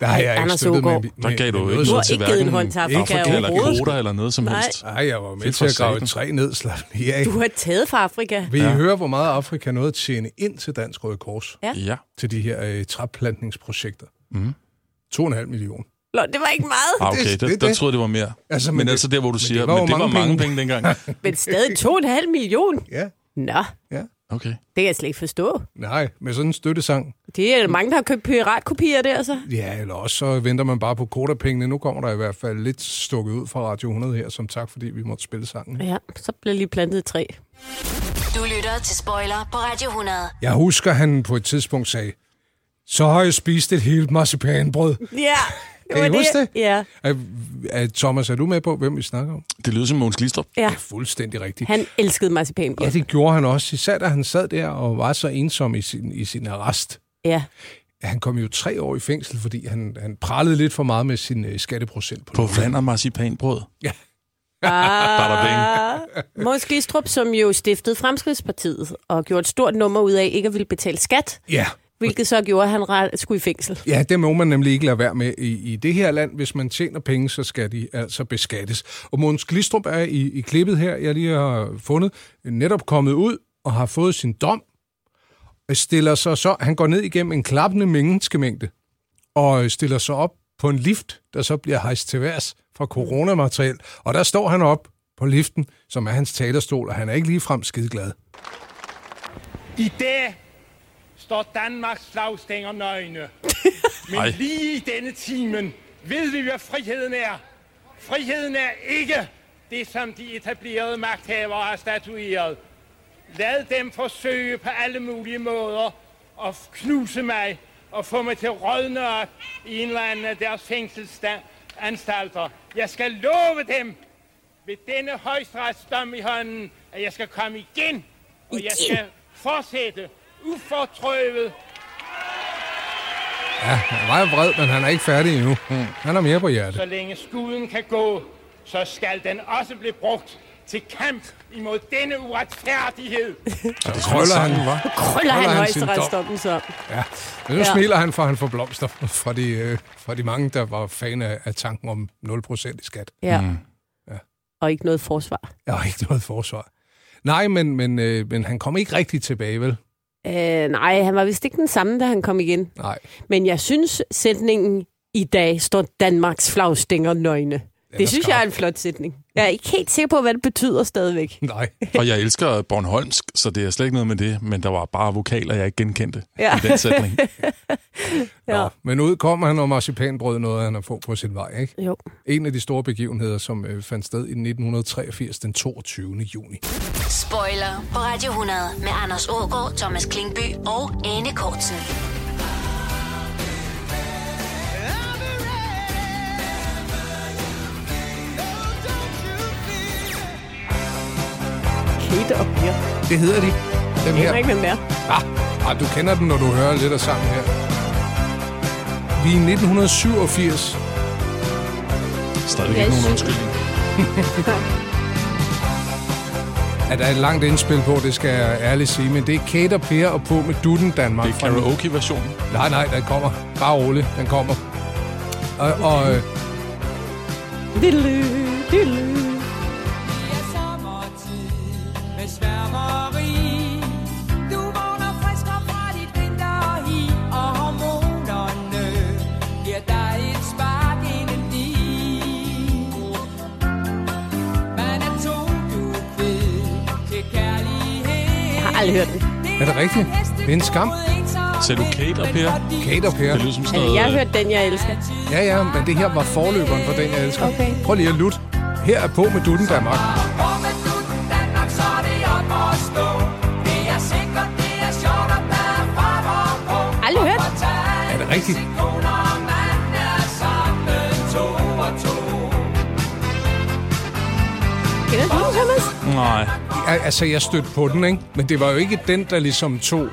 Speaker 9: Der har
Speaker 11: Ej,
Speaker 9: jeg ikke
Speaker 11: Anders
Speaker 9: støttet med,
Speaker 11: Aagaard.
Speaker 9: med,
Speaker 10: Der gav du jo
Speaker 9: med
Speaker 10: ikke
Speaker 9: som
Speaker 10: noget til
Speaker 9: helst.
Speaker 10: hverken Afrika eller kvoter eller noget som
Speaker 11: Nej.
Speaker 10: helst.
Speaker 9: Nej, jeg var med
Speaker 10: Fedt
Speaker 9: til at
Speaker 10: for
Speaker 9: grave et
Speaker 10: satan.
Speaker 9: træ ned, slap lige af.
Speaker 11: Du har taget fra Afrika.
Speaker 9: Vil I ja. høre, hvor meget Afrika nåede at tjene ind til Dansk Røde Kors?
Speaker 11: Ja.
Speaker 10: ja.
Speaker 9: Til de her øh, træplantningsprojekter?
Speaker 10: Mm.
Speaker 9: 2,5 millioner.
Speaker 11: Lå, det var ikke meget.
Speaker 10: Ah, okay,
Speaker 9: Det-
Speaker 10: der,
Speaker 9: det-
Speaker 10: der
Speaker 9: det-
Speaker 10: troede jeg, det var mere.
Speaker 9: Altså,
Speaker 10: Altså,
Speaker 9: men
Speaker 10: men, men
Speaker 9: det-
Speaker 10: altså der, hvor du
Speaker 9: men
Speaker 10: siger,
Speaker 9: det var jo
Speaker 10: men det var
Speaker 9: mange
Speaker 10: mange
Speaker 9: penge.
Speaker 10: penge
Speaker 9: <laughs>
Speaker 10: dengang.
Speaker 11: Men stadig 2,5 million.
Speaker 9: Ja.
Speaker 11: Nå,
Speaker 9: Ja.
Speaker 10: Okay.
Speaker 11: det kan jeg slet ikke forstå.
Speaker 9: Nej, med sådan en støttesang.
Speaker 11: Det er mange, der har købt piratkopier der, så.
Speaker 9: Ja, eller også så venter man bare på koderpengene. Nu kommer der i hvert fald lidt stukket ud fra Radio 100 her, som tak, fordi vi måtte spille sangen.
Speaker 11: Ja, så bliver lige plantet et træ.
Speaker 1: Du lytter til Spoiler på Radio 100.
Speaker 9: Jeg husker, han på et tidspunkt sagde, så har jeg spist et helt marcipanbrød.
Speaker 11: Ja.
Speaker 9: Kan I
Speaker 11: var
Speaker 9: huske det?
Speaker 11: Ja.
Speaker 9: Er, er, Thomas, er du med på, hvem vi snakker om?
Speaker 10: Det lyder som Mogens Glistrup.
Speaker 11: Ja.
Speaker 9: Det er fuldstændig rigtigt.
Speaker 11: Han elskede marcipanbrød.
Speaker 9: Ja, det gjorde han også, især da han sad der og var så ensom i sin, i sin arrest. <laughs>
Speaker 11: Ja.
Speaker 9: Han kom jo tre år i fængsel, fordi han, han prallede lidt for meget med sin øh, skatteprocent. På,
Speaker 10: På vand og marcipanbrød.
Speaker 9: Ja.
Speaker 11: Ah, Mogens Glistrup, som jo stiftede Fremskridspartiet og gjorde et stort nummer ud af ikke at ville betale skat,
Speaker 9: Ja.
Speaker 11: hvilket så gjorde, at han ret- skulle i fængsel.
Speaker 9: Ja, det må man nemlig ikke lade være med i, i det her land. Hvis man tjener penge, så skal de altså beskattes. Og Måns Glistrup er i, i klippet her, jeg lige har fundet, netop kommet ud og har fået sin dom. Øh, Stiller sig så, han går ned igennem en klappende menneskemængde og øh, stiller sig op på en lift, der så bliver hejst til værs fra coronamateriel. Og der står han op på liften, som er hans talerstol, og han er ikke ligefrem skideglad.
Speaker 20: I dag står Danmarks flagstænger nøgne. Men
Speaker 9: Ej.
Speaker 20: lige i denne timen ved vi, hvad friheden er. Friheden er ikke det, som de etablerede magthavere har statueret. Lad dem forsøge på alle mulige måder at knuse mig og få mig til at rådne op i en eller anden af deres fængselsanstalter. Jeg skal love dem ved denne højesteretsdom i hånden, at jeg skal komme igen, og jeg skal fortsætte ufortrøvet
Speaker 9: Ja, han er meget vred, men han er ikke færdig endnu. Han har mere på hjertet.
Speaker 20: Så længe skuden kan gå, så skal den også blive brugt til kamp imod denne
Speaker 11: <laughs>
Speaker 20: uretfærdighed.
Speaker 9: Så krøller han,
Speaker 10: var.
Speaker 11: Krøller han
Speaker 9: sin dom.
Speaker 11: højesteretsdommen så.
Speaker 9: Ja, men nu
Speaker 11: Ja.
Speaker 9: ja. smiler han, for han får blomster fra de, øh, fra de mange, der var fan af, af tanken om 0% i skat.
Speaker 11: Ja.
Speaker 9: Mm.
Speaker 11: Og ikke noget forsvar.
Speaker 9: Jeg har ikke noget forsvar. Nej, men, men, øh, men han kom ikke rigtig tilbage, vel?
Speaker 11: Øh, nej, han var vist ikke den samme, da han kom igen.
Speaker 9: Nej.
Speaker 11: Men jeg synes, sætningen i dag står Danmarks flagstænger nøgne. Det synes jeg er en flot sætning. Jeg er ikke helt sikker på, hvad det betyder stadigvæk.
Speaker 9: Nej.
Speaker 10: Og jeg elsker Bornholmsk, så det er slet ikke noget med det, men der var bare vokaler, jeg ikke genkendte
Speaker 11: Ja.
Speaker 10: ja. i den sætning.
Speaker 9: Ja. Nå, men ud kom han, og marcipanbrød noget, han har fået på sin vej, ikke?
Speaker 11: Jo.
Speaker 9: En af de store begivenheder, som øh, fandt sted i 1983, den 22. juni.
Speaker 1: Spoiler på Radio 100 med Anders Ågaard, Thomas Klingby og Anne Kortsen.
Speaker 11: Kate og Per.
Speaker 9: Det hedder de, dem
Speaker 11: Jeg
Speaker 9: her.
Speaker 11: aner ikke, hvem det er.
Speaker 9: Ah, ah, du kender den, når du hører lidt af sangen her. Vi er i 1987.
Speaker 10: Stadig
Speaker 9: ikke nogen
Speaker 10: undskyldning.
Speaker 9: Ja, der er et langt indspil på, det skal jeg ærligt sige, men det er Kate og Per og på med Dutten Danmark.
Speaker 10: Det er karaoke-versionen.
Speaker 9: Nej, nej, den kommer. Bare rolig, den kommer. Og, og øh,
Speaker 11: Diddly, diddly.
Speaker 19: Giver dig et spark inden i
Speaker 11: aldrig hørt den.
Speaker 9: Er det rigtigt? Det er en skam.
Speaker 10: Sagde du Kate og Per?
Speaker 9: Kate og Per.
Speaker 10: Det lyder som sådan
Speaker 11: Altså,
Speaker 10: noget...
Speaker 11: jeg har hørt den, jeg elsker.
Speaker 9: Ja, ja, men det her var forløberen for den, jeg elsker.
Speaker 11: Okay.
Speaker 9: Prøv lige at lutte. Her er på med Dutten Danmark.
Speaker 11: Aldrig hørt.
Speaker 9: Er det rigtigt?
Speaker 11: Kender du den, Thomas?
Speaker 10: Nej.
Speaker 9: Altså, jeg stødte på den, ikke? Men det var jo ikke den, der ligesom tog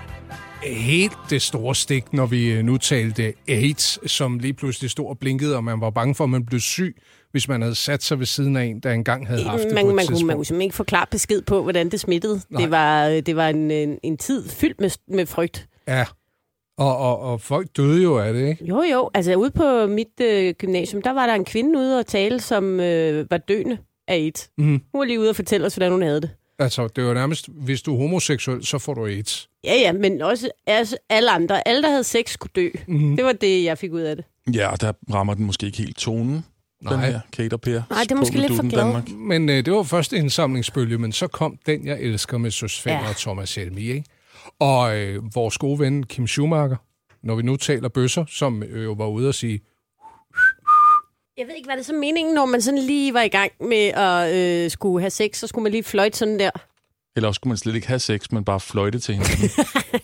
Speaker 9: helt det store stik, når vi øh, nu talte AIDS, som lige pludselig stod og blinkede, og man var bange for, at man blev syg, hvis man havde sat sig ved siden af en, der engang havde haft det
Speaker 11: Mm, Man,
Speaker 9: på et
Speaker 11: man, kunne,
Speaker 9: tidspunkt.
Speaker 11: man kunne simpelthen ikke forklare besked på, hvordan det smittede.
Speaker 9: Nej.
Speaker 11: Det var, øh, det var en, en, en tid fyldt med, med frygt.
Speaker 9: Ja, og, og, og folk døde jo af det, ikke?
Speaker 11: Jo, jo. Altså ude på mit øh, gymnasium, der var der en kvinde ude og tale, som øh, var døende af AIDS.
Speaker 9: Mhm.
Speaker 11: Hun var lige ude og fortælle os, hvordan hun havde det.
Speaker 9: Altså, det var nærmest, hvis du er homoseksuel, så får du AIDS.
Speaker 11: Ja, ja, men også altså, alle andre. Alle, der havde sex, skulle dø.
Speaker 9: Mhm.
Speaker 11: Det var det, jeg fik ud af det.
Speaker 10: Ja, og der rammer den måske ikke helt tonen. Den
Speaker 9: Nej.
Speaker 10: her Kate og Per.
Speaker 11: Nej, det er måske
Speaker 10: På med
Speaker 11: lidt for
Speaker 10: Dutten
Speaker 11: glad.
Speaker 10: Danmark.
Speaker 9: Men øh, det var første indsamlingsbølge, men så kom den, jeg elsker med Søs Fender
Speaker 11: Ja.
Speaker 9: ja. og Thomas Helmi, ikke? Og øh, vores gode ven Kim Schumacher, når vi nu taler bøsser, som øh, jo var ude og sige,
Speaker 11: Jeg ved ikke, hvad det så er meningen, når man sådan lige var i gang med at øh, skulle have sex, så skulle man lige fløjte sådan der.
Speaker 10: Eller også kunne man slet ikke have sex, men bare fløjte til hende.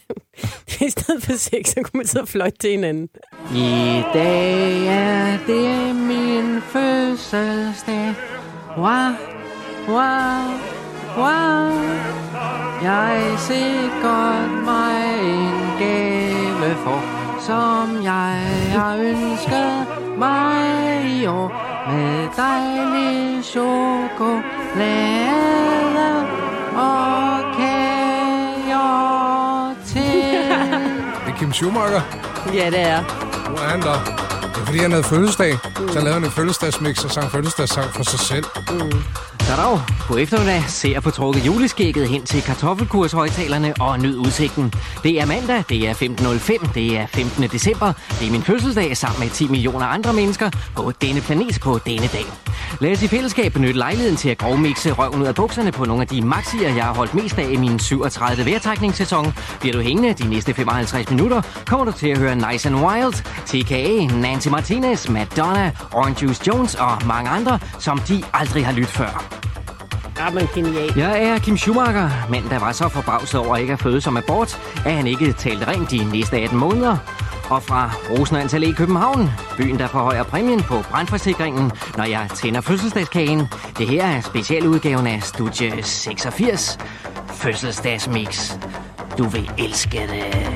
Speaker 11: <laughs> I stedet for sex, så kunne man sidde og fløjte til hinanden.
Speaker 19: I dag er det min fødselsdag. Wow, wow, wow. Jeg sikkert mig en gave for, som jeg har ønsket mig i år. Med dejlig chokolade og kager til.
Speaker 9: det er Kim Schumacher,
Speaker 11: Ja, det er.
Speaker 9: nu er han der. Det er fordi, han havde fødselsdag. Så lavede han en fødselsdagsmix og sang fødselsdagssang for sig selv.
Speaker 21: Mm. Så dog, på eftermiddag ser jeg på trukket juleskægget hen til kartoffelkurshøjtalerne og nyd udsigten. Det er mandag, det er 15.05, det er 15. december, det er min fødselsdag sammen med 10 millioner andre mennesker på denne planet på denne dag. Lad os i fællesskab benytte lejligheden til at grovmixe røven ud af bukserne på nogle af de maxier, jeg har holdt mest af i min 37 vejrtrækningssæson. Bliver du hængende de næste 55 minutter, kommer du til at høre Nice and Wild, TKA, Nancy Martinez, Madonna, Orange Juice Jones og mange andre, som de aldrig har lyttet før.
Speaker 11: Ah, men genial.
Speaker 21: Jeg er Kim Schumacher, manden der var så forbavset over ikke at føde som abort, at han ikke talte rent de næste 18 måneder. Og fra Rosenørns Allé i København, byen der forhøjer præmien på brandforsikringen, når jeg tænder fødselsdagskagen. Det her er specialudgaven af Studie 86, Fødselsdagsmix. Du vil elske det.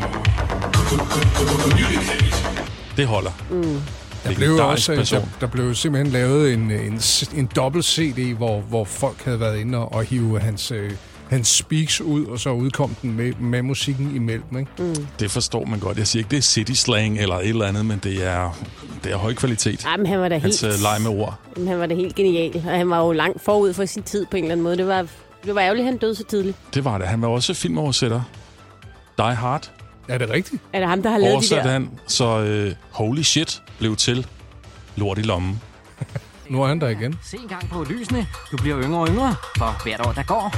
Speaker 10: Det holder.
Speaker 11: Mm.
Speaker 9: Der blev jo
Speaker 10: Legendarisk
Speaker 9: også, øh, der,
Speaker 10: person.
Speaker 9: der blev jo simpelthen lavet en, en, s- en dobbelt CD, hvor, hvor folk havde været inde og, og hive hans, øh, hans speaks ud, og så udkom den med, med musikken imellem. Ikke? Mm.
Speaker 10: Det forstår man godt. Jeg siger ikke, det er city slang eller et eller andet, men det er, det er høj kvalitet.
Speaker 11: Ej, Ah, men han var da
Speaker 10: Hans
Speaker 11: helt-
Speaker 10: øh, leg med ord.
Speaker 11: Jamen, han var da helt genial, og han var jo langt forud for sin tid på en eller anden måde. Det var, det var ærgerligt, at han døde så tidligt.
Speaker 10: Det var det. Han var også filmoversætter. Die Hard.
Speaker 9: Er det rigtigt?
Speaker 11: Er det ham, der har lavet de
Speaker 10: Oversat
Speaker 11: der?
Speaker 10: han, så øh, Holy Shit blev til Lort i lommen.
Speaker 9: nu er han der igen.
Speaker 21: Se en gang på lysene. Du bliver yngre og yngre, for hvert år der går.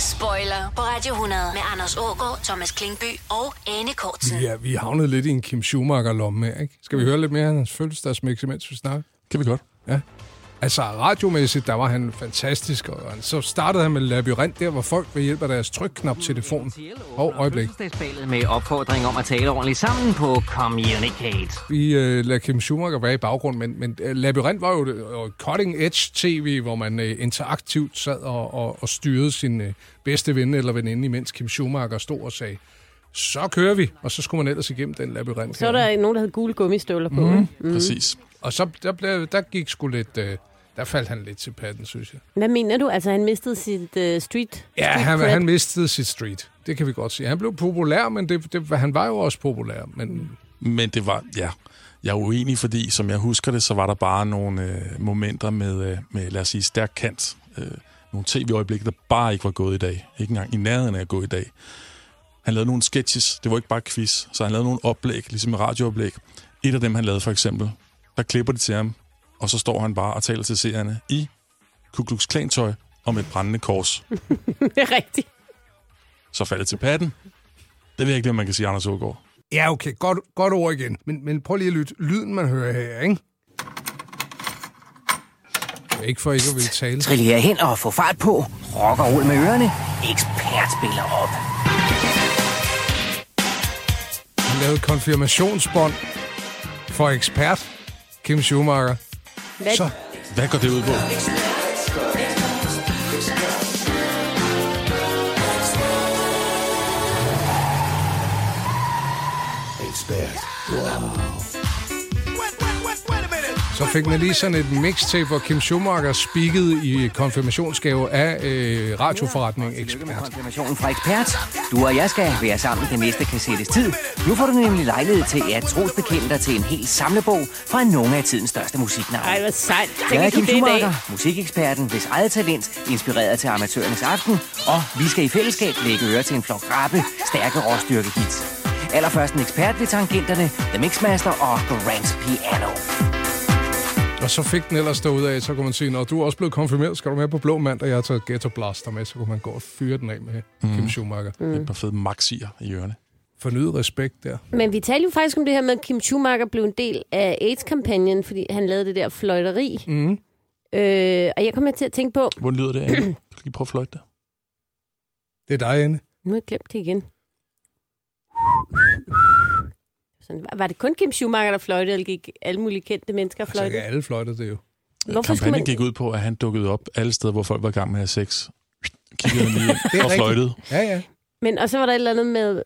Speaker 1: Spoiler på Radio 100 med Anders Ågaard, Thomas Klingby og Anne Kortsen.
Speaker 9: Ja, vi havnede lidt i en Kim Schumacher-lomme her, ikke? Skal vi høre lidt mere af hans fødselsdagsmix, imens vi snakker?
Speaker 10: Kan vi godt.
Speaker 9: Ja. Altså, radiomæssigt, der var han fantastisk, og han- så startede han med labyrint der, hvor folk ved hjælp af deres trykknap til telefonen. Og øjeblik.
Speaker 21: Fødselsdagsballet med opfordring om at tale ordentligt sammen på Communicate.
Speaker 9: Vi øh, lader Kim Schumacher være i baggrunden, men, men øh, Labyrinth var jo det- og cutting edge tv, hvor man øh, interaktivt sad og, og, og styrede sin øh, bedste ven eller veninde, imens Kim Schumacher stod og sagde, så kører vi, og så skulle man ellers igennem den labyrint.
Speaker 11: Så var der nogen, der havde gule gummistøvler på.
Speaker 9: Mhm,
Speaker 11: ikke?
Speaker 10: Præcis.
Speaker 9: Og så der, blev, der gik sgu lidt, øh, der faldt han lidt til patten, synes jeg.
Speaker 11: Hvad mener du? Altså, han mistede sit øh, street <laughs>
Speaker 9: Ja,
Speaker 11: street
Speaker 9: han,
Speaker 11: cred?
Speaker 9: han mistede sit street. Det kan vi godt sige. Han blev populær, men det, det, han var jo også populær. Men
Speaker 10: Men det var, ja, jeg er uenig, fordi som jeg husker det, så var der bare nogle øh, momenter med, øh, med, lad os sige, stærk kant. Øh, nogle tv-øjeblikke, der bare ikke var gået i dag. Ikke engang i nærheden af at gå i dag. Han lavede nogle sketches, det var ikke bare quiz, så han lavede nogle oplæg, ligesom et radiooplæg. Et af dem, han lavede for eksempel, der klipper de til ham, og så står han bare og taler til seerne i Ku Klux Klan-tøj om et brændende kors.
Speaker 11: det er rigtigt.
Speaker 10: så faldet til patten. Det ved jeg ikke, om man kan sige, Anders Ågaard.
Speaker 9: Ja, okay. Godt, godt ord igen. Men, men prøv lige at lytte. Lyden, man hører her, ikke? Ikke for ikke at ville tale.
Speaker 21: Trillere hen og få fart på. Rock og roll med ørerne. Ekspert spiller op.
Speaker 9: Han lavede konfirmationsbånd for ekspert Kim Schumacher.
Speaker 11: Hvad?
Speaker 9: Så.
Speaker 10: Hvad går det ud på?
Speaker 4: Ekspert. Wow.
Speaker 9: Så fik man lige sådan et mixtape, hvor Kim Schumacher speakede i konfirmationsgave af øh, radioforretning Ekspert.
Speaker 21: Konfirmationen fra ekspert. Du og jeg skal være sammen den næste kassettes tid. Nu får du nemlig lejlighed til at trosbekende dig til en hel samlebog fra nogle af tidens største musiknavne.
Speaker 11: Ej, hvor sejt.
Speaker 21: Jeg er
Speaker 11: Tænker
Speaker 21: Kim
Speaker 11: du det i dag?
Speaker 21: Schumacher, musikeksperten, hvis eget talent inspireret til amatørernes aften, og vi skal i fællesskab lægge øre til en flok rappe, stærke råstyrke hits. Allerførst en ekspert ved tangenterne, The Mixmaster og Grand Piano.
Speaker 9: Og så fik den ellers derudad, så kunne man sige, når du er også blevet konfirmeret, skal du med på Blå Mandag, jeg har taget Ghetto Blaster med, så kunne man gå og fyre den af med mm. Kim Schumacher.
Speaker 10: Mm. Et par fede maxier i ørerne.
Speaker 9: Fornyet respekt der.
Speaker 11: Men vi talte jo faktisk om det her med, at Kim Schumacher blev en del af AIDS-kampagnen, fordi han lavede det der fløjteri.
Speaker 9: Mm.
Speaker 11: Øh, og jeg kom her til at tænke på...
Speaker 10: Hvor lyder det, Anne? Kan du lige prøve at fløjte det?
Speaker 9: Det er dig, Anne. Altså,
Speaker 11: Nu har jeg glemt det igen. Sådan, var- var det kun Kim Schumacher, der fløjtede, eller gik alle mulige kendte mennesker og
Speaker 9: Så kan
Speaker 11: fløjtede?
Speaker 9: alle fløjte det jo.
Speaker 11: Hvorfor skulle
Speaker 10: Kampagnen
Speaker 11: man...
Speaker 10: gik ud på, at han dukkede op alle steder, hvor folk var i gang med at have sex. Kiggede han lige
Speaker 9: Det
Speaker 10: ind
Speaker 9: er
Speaker 10: og
Speaker 9: rigtigt.
Speaker 10: fløjtede.
Speaker 9: Ja, ja.
Speaker 11: Men, og så var der et eller andet med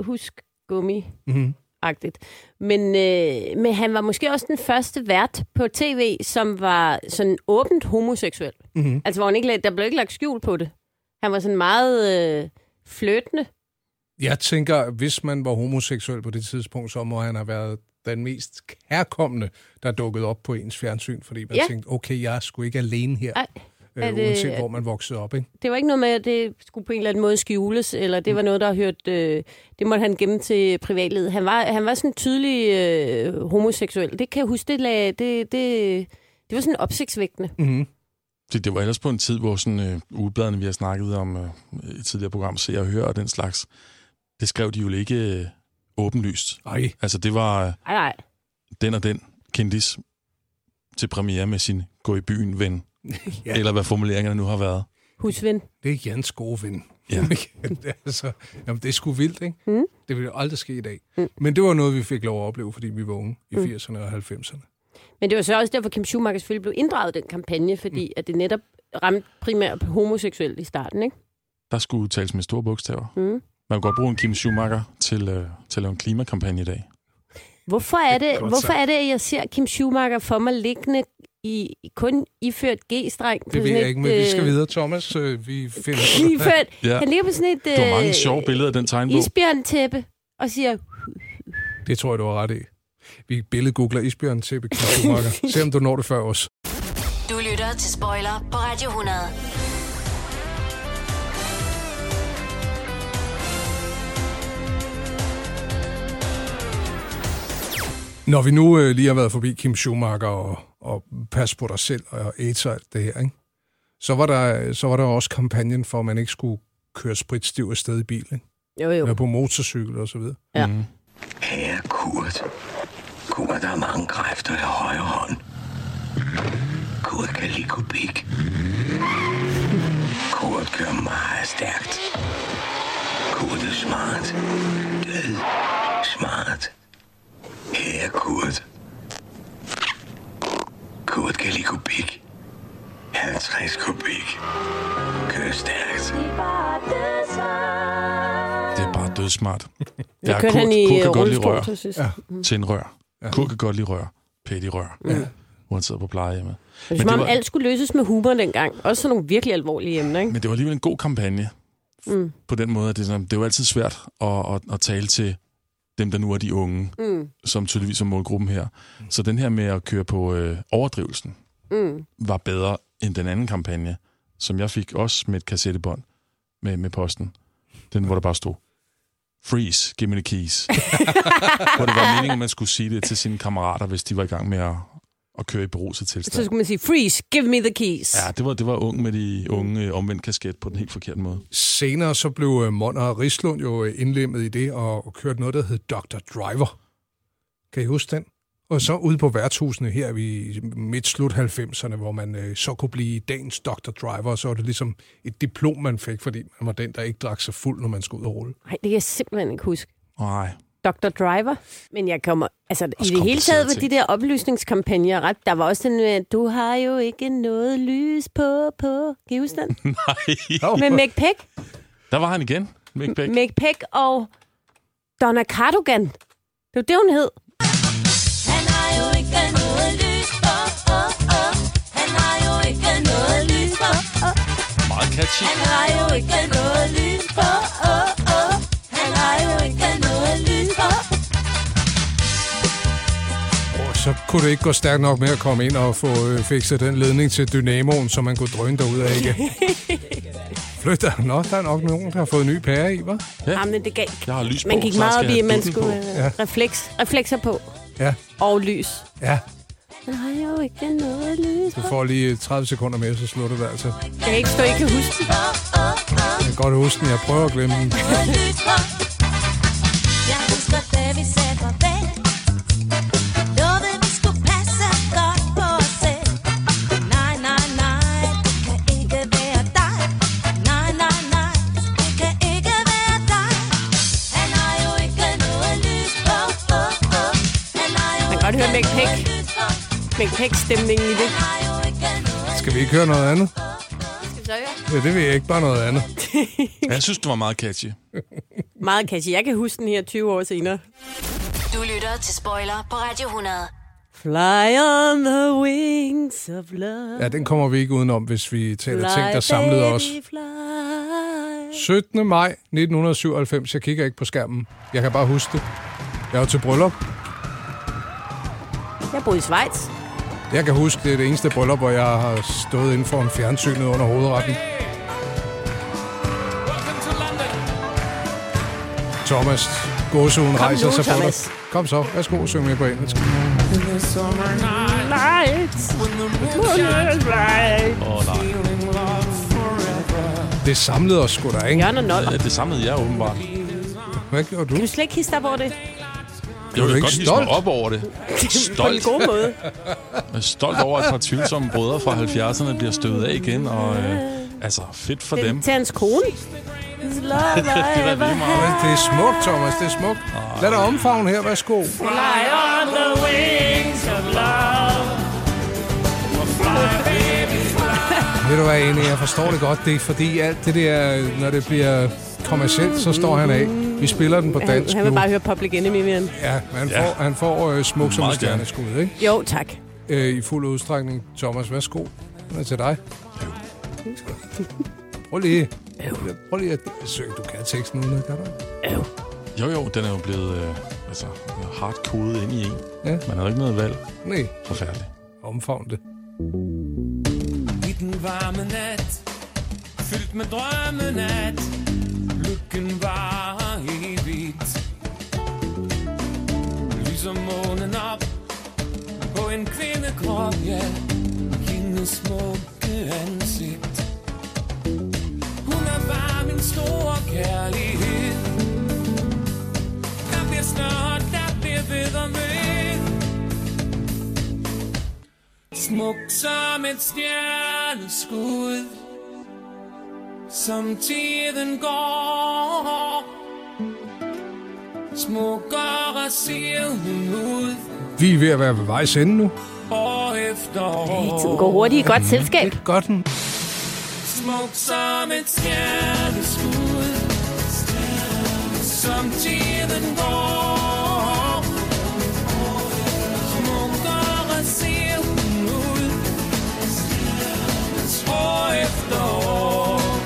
Speaker 11: husk gummi
Speaker 9: Mm.
Speaker 11: agtigt men, øh, men han var måske også den første vært på tv, som var sådan åbent homoseksuel.
Speaker 9: Mhm.
Speaker 11: Altså, hvor han ikke, lagde- der blev ikke lagt skjul på det. Han var sådan meget øh, flyttende.
Speaker 9: Jeg tænker, hvis man var homoseksuel på det tidspunkt, så må han have været den mest kærkommende, der dukkede op på ens fjernsyn, fordi man
Speaker 11: Ja.
Speaker 9: ja. tænkte, okay, jeg er sgu ikke alene her,
Speaker 11: Ej, er
Speaker 9: øh,
Speaker 11: det-
Speaker 9: uanset hvor man voksede op. Ikke?
Speaker 11: Det var ikke noget med, at det skulle på en eller anden måde skjules, eller det var noget, der hørte... Øh, det måtte han gemme til privatlivet. Han var, han var sådan tydelig øh, homoseksuel. Det kan jeg huske, det, lag, det, det, det var sådan opsigtsvægtende.
Speaker 9: Mm-hmm.
Speaker 10: Det, det var ellers på en tid, hvor sådan, øh, ugebladene, vi har snakket om øh, i et tidligere program, Se og Hør og den slags, det skrev de jo ikke øh, åbenlyst.
Speaker 9: Ej. <laughs>
Speaker 10: Altså, det var øh,
Speaker 11: Ej, nej.
Speaker 10: den og den kendis til premiere med sin gå i byen ven.
Speaker 9: Ja.
Speaker 10: ja. Eller hvad formuleringerne nu har været.
Speaker 11: Husven.
Speaker 9: Det er Jans gode ven. <laughs>
Speaker 10: Ja.
Speaker 9: altså, jamen, det er sgu vildt, ikke?
Speaker 11: Mm.
Speaker 9: Det ville jo aldrig ske i dag. Mm. Men det var noget, vi fik lov at opleve, fordi vi var unge i
Speaker 11: Mm.
Speaker 9: 80'erne og 90'erne.
Speaker 11: Men det var så også derfor, Kim Schumacher selvfølgelig blev inddraget i den kampagne, fordi mm. at det netop ramte primært homoseksuelt i starten, ikke?
Speaker 10: Der skulle tales med store bogstaver.
Speaker 11: Mm.
Speaker 10: Man kunne godt bruge en Kim Schumacher til, øh, til at lave en klimakampagne i dag.
Speaker 11: Hvorfor er det,
Speaker 10: godt
Speaker 11: hvorfor
Speaker 10: sagt.
Speaker 11: er det at jeg ser Kim Schumacher for mig liggende i, i- kun iført G-streng? på
Speaker 9: Det ved
Speaker 11: sådan
Speaker 9: jeg
Speaker 11: et,
Speaker 9: ikke, men vi skal
Speaker 11: øh,
Speaker 9: videre, Thomas. Øh, Vi finder
Speaker 11: <laughs> Iført, ja. Han ligger på sådan et
Speaker 10: Det var mange
Speaker 11: øh,
Speaker 10: sjove billeder af den tegnbog.
Speaker 11: isbjørntæppe og siger,
Speaker 9: Det tror jeg, du har ret i. Vi billedgoogler Isbjørn til Kim Schumacher. Se om du når det før os.
Speaker 1: Du lytter til Spoiler på Radio 100.
Speaker 9: Når vi nu øh, lige har været forbi Kim Schumacher og, og pas på dig selv og AIDS og alt det her, ikke? Så, var der, så var der også kampagnen for, at man ikke skulle køre spritstiv afsted i bil, ikke?
Speaker 11: Jo, jo.
Speaker 9: Være på motorcykel og så videre.
Speaker 11: Ja.
Speaker 9: Mm.
Speaker 2: Kære Kurt. Kurt har mange kræfter i højre hånd. Kurt kan lide kubik. Kurt kører meget stærkt. Kurt er smart. Død. Smart. Kære Kurt. Kurt kan lide kubik. 50 kubik. Kører stærkt.
Speaker 10: Det er bare dødsmart.
Speaker 2: Det kørte han i, øh, rullestol til sidst.
Speaker 10: Ja.
Speaker 11: Mm.
Speaker 10: Til en rør. Ja. Kurt kan godt lide rør. Pæt i rør.
Speaker 11: Ja.
Speaker 10: Ja. Hvor han sidder på plejehjemmet.
Speaker 11: det er som om alt skulle løses med humor dengang. Også sådan nogle virkelig alvorlige emner, ikke?
Speaker 10: men det var alligevel en god kampagne.
Speaker 11: Mm.
Speaker 10: På den måde, at det, er sådan, det er jo altid svært at, at, at tale til dem, der nu er de unge,
Speaker 11: Mm.
Speaker 10: som tydeligvis er målgruppen her. Så den her med at køre på øh, overdrivelsen
Speaker 11: Mm.
Speaker 10: var bedre end den anden kampagne, som jeg fik også med et kassettebånd med, med posten. Den, hvor der bare stod, freeze, give me the keys. hvor det var meningen, at man skulle sige det til sine kammerater, hvis de var i gang med at, og køre i beruset tilstand.
Speaker 11: Så skulle man sige, freeze, give me the keys.
Speaker 10: Ja, det var, det var ung med de unge øh, omvendt kasket på den helt forkerte måde.
Speaker 9: Senere så blev øh, Monner og Rislund jo øh, indlemmet i det og, og kørte noget, der hed Dr. Driver. Kan I huske den? Og så ude på værtshusene her i midt-slut 90'erne, hvor man øh, så kunne blive dagens Dr. Driver, og så var det ligesom et diplom, man fik, fordi man var den, der ikke drak sig fuld, når man skulle ud og rulle.
Speaker 11: Nej, det kan jeg simpelthen ikke huske.
Speaker 10: Nej.
Speaker 11: Dr. Driver. Men jeg kommer... Altså, i det hele
Speaker 10: komplicerede
Speaker 11: taget var de
Speaker 10: ting.
Speaker 11: der oplysningskampagner ret. Der var også den med, du har jo ikke noget lys på, på. Kan I huske
Speaker 10: <laughs>
Speaker 11: den?
Speaker 10: Nej.
Speaker 11: med Mick Peck.
Speaker 10: Der var han igen. Mick Beck.
Speaker 11: Mick Peck og Donna Cardigan. Det var det, hun hed.
Speaker 19: Han har jo ikke noget lys på, oh, oh. Han har jo ikke noget lys på, oh.
Speaker 10: Meget catchy.
Speaker 19: Han har jo ikke noget lys på, oh, oh. Han har jo ikke noget lys på.
Speaker 9: Og så kunne det ikke gå stærkt nok med at komme ind og få øh, fikset den ledning til dynamoen, så man kunne drøne derud af
Speaker 11: <laughs>
Speaker 9: igen. Flytter. Nå, der er nok nogen, der har fået en ny pære i, hva'?
Speaker 10: Ja.
Speaker 11: Jamen, Ah, det gav...
Speaker 10: Jeg har lys på,
Speaker 11: Man gik
Speaker 10: så
Speaker 11: meget
Speaker 10: skal
Speaker 11: op i,
Speaker 10: jeg
Speaker 11: at man
Speaker 10: have
Speaker 11: skulle
Speaker 10: dutten
Speaker 11: ja. refleks, reflekser på
Speaker 9: Ja,
Speaker 11: og lys.
Speaker 9: ja.
Speaker 11: Han har jo ikke noget lys på.
Speaker 9: Du får lige 30 sekunder mere, så slutter det altså.
Speaker 11: Jeg kan ikke stå, jeg kan huske det.
Speaker 9: Jeg kan godt huske den, jeg prøver at glemme den.
Speaker 19: Noget lys på. Jeg husker, da vi sagde farvel. Lovede, vi skulle passe godt på os selv. Nej, nej, nej, det kan ikke være dig. Nej, nej, nej, det kan ikke være dig. Han har jo ikke noget lys på, oh, oh. Han har jo
Speaker 11: Man kan godt høre
Speaker 19: ikke
Speaker 11: Mick Peck. Mick Peck-stemningen i det.
Speaker 9: Skal vi ikke høre noget andet?
Speaker 11: Skal vi så høre?
Speaker 9: Ja, det vil jeg ikke. Bare noget andet.
Speaker 10: Ja, jeg synes, det var meget catchy.
Speaker 11: Meget catchy. Jeg kan huske den her 20 år senere.
Speaker 1: Du lytter til Spoiler på Radio 100.
Speaker 11: Fly on the wings of love.
Speaker 9: Ja, den kommer vi ikke udenom, hvis vi taler ting, der samlede os.
Speaker 11: Fly.
Speaker 9: 17. maj 1997. Jeg kigger ikke på skærmen. Jeg kan bare huske det. Jeg var til bryllup.
Speaker 11: Jeg boede i Schweiz.
Speaker 9: Jeg kan huske, det er det eneste bryllup, hvor jeg har stået inden for en fjernsynet under hovedretten. Thomas, gåsehuden
Speaker 19: Kom
Speaker 9: rejser
Speaker 19: nu,
Speaker 9: sig på dig.
Speaker 19: Thomas.
Speaker 9: Kom så, værsgo, syng med på engelsk.
Speaker 19: In the summer night lights, when the moon shines bright,
Speaker 10: Åh, nej.
Speaker 19: feeling love forever.
Speaker 9: Det samlede os sgu da, ikke?
Speaker 11: Jørgen og Nold.
Speaker 10: Ja, det samlede jeg åbenbart.
Speaker 9: Hvad gjorde du?
Speaker 11: Kan du slet ikke hisse dig over det?
Speaker 10: Jeg
Speaker 9: du
Speaker 10: vil
Speaker 9: ikke
Speaker 10: godt hisse mig
Speaker 9: stolt?
Speaker 10: op over det.
Speaker 11: <laughs> På den
Speaker 10: Stolt.
Speaker 11: gode måde.
Speaker 10: Jeg er stolt over, at et par tvivlsomme brødre fra 70'erne bliver støvet af igen. Og øh, altså, fedt for dem.
Speaker 11: Den, til hans kone. His love I
Speaker 10: da lige
Speaker 11: ever
Speaker 10: meget.
Speaker 11: had.
Speaker 9: Det er smukt, Thomas, det er smukt. Lad dig omfavne her,
Speaker 19: Fly
Speaker 9: værsgo.
Speaker 19: on the wings of love. Fly, baby, fly.
Speaker 9: Ved du hvad, Ane, jeg forstår det godt. Det er fordi alt det der, når det bliver kommercielt, så står han af. Vi spiller den på
Speaker 11: Han,
Speaker 9: dansk
Speaker 11: han vil
Speaker 9: nu.
Speaker 11: bare høre Public Enemy mere end.
Speaker 9: Ja, men han får, han får øh, smuk som en
Speaker 10: Meget gerne.
Speaker 9: stjerneskud, ikke?
Speaker 11: Jo, tak.
Speaker 9: Øh, I fuld udstrækning. Thomas, værsgo. Den er til dig. Prøv lige. Prøv lige at søge. Du kan teksten uden, kan du?
Speaker 10: Jo, jo, den er jo blevet øh, altså, hardkodet ind i en.
Speaker 9: Ja.
Speaker 10: Man havde ikke noget valg.
Speaker 9: Nej.
Speaker 10: Forfærdeligt.
Speaker 9: Omfavn det.
Speaker 19: I den varme nat, fyldt med drømme nat, lykken var evigt. Lyser månen op på en kvindekrop, ja, hendes smukke ansigt. Hun er bare min store kærlighed. Der bliver snart, der bliver ved og ved. Smuk som et stjerneskud Som tiden går Smukkere ser hun ud
Speaker 9: Vi er ved at være ved vejs ende nu.
Speaker 19: År efter år
Speaker 11: Tiden går hurtigt i godt selskab.
Speaker 9: Det er godt. den.
Speaker 19: Smuk som et stjerneskud Som tiden går Smukkere ser hun ud År efter år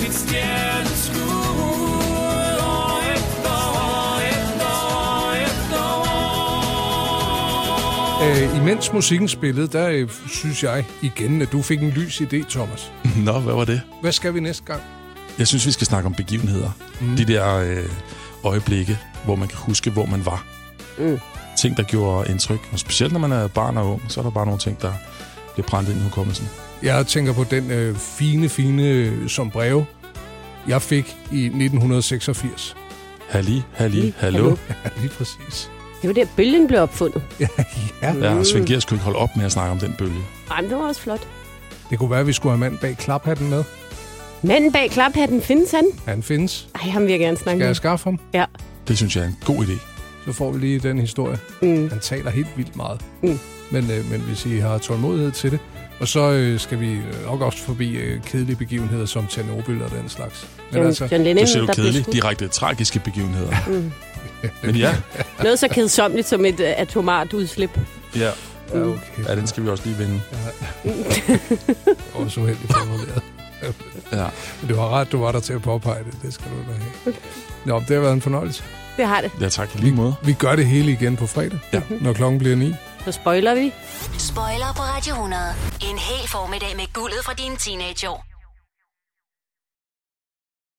Speaker 19: Mit stjerneskud År efter år efter år efter år
Speaker 9: Øh, imens musikken spillede, der øh, synes jeg igen, at du fik en lys idé, Thomas.
Speaker 10: Nå, hvad var det?
Speaker 9: Hvad skal vi næste gang?
Speaker 10: Jeg synes, vi skal snakke om begivenheder. Mm. De der øh, øjeblikke, hvor man kan huske, hvor man var.
Speaker 11: Mm.
Speaker 10: ting, der gjorde indtryk. Og specielt når man er barn og ung, så er der bare nogle ting, der bliver brændt ind i hukommelsen.
Speaker 9: Jeg tænker på den øh, fine, fine øh, som breve, jeg fik i 1986.
Speaker 10: Halli, halli, hallo.
Speaker 9: <laughs> Ja, lige præcis.
Speaker 11: Det var der, bølgen blev opfundet.
Speaker 10: Ja, ja
Speaker 11: Mm.
Speaker 10: og Svend Gers kunne ikke holde op med at snakke om den bølge.
Speaker 11: Ej, men det var også flot.
Speaker 9: Det kunne være, at vi skulle have manden bag klaphatten med.
Speaker 11: Manden bag klaphatten, findes han?
Speaker 9: Han findes.
Speaker 11: Ej, ham vil jeg gerne snakke
Speaker 9: Skal
Speaker 11: med.
Speaker 9: jeg skaffe ham?
Speaker 11: Ja.
Speaker 10: Det synes jeg er en god idé.
Speaker 9: Så får vi lige den historie.
Speaker 11: Mm.
Speaker 9: Han taler helt vildt meget.
Speaker 11: Mm.
Speaker 9: Men, øh, men hvis I har tålmodighed til det. Og så øh, skal vi øh, nok også forbi øh, kedelige begivenheder som Tjernobyl og den slags. altså,
Speaker 11: John- John Lennon,
Speaker 10: Nu siger du
Speaker 11: der blev
Speaker 10: kedelige,
Speaker 11: skudt.
Speaker 10: direkte tragiske begivenheder.
Speaker 11: Mm.
Speaker 10: Men ja,
Speaker 11: Noget så kedsomligt som et øh, atomart udslip.
Speaker 10: ja. Okay. ja, den skal vi også lige vinde.
Speaker 9: Og så heldig formuleret.
Speaker 10: ja.
Speaker 9: Men det var ret, du var der til at påpege det. Det skal du da have.
Speaker 11: Okay.
Speaker 9: Nå, det har været en fornøjelse.
Speaker 11: Det har det.
Speaker 10: Ja, tak. Lige måde.
Speaker 9: Vi gør det hele igen på fredag, ja. når klokken bliver 9.
Speaker 11: Så spoiler vi.
Speaker 1: Spoiler på Radio 100. En hel formiddag med guldet fra dine teenageår.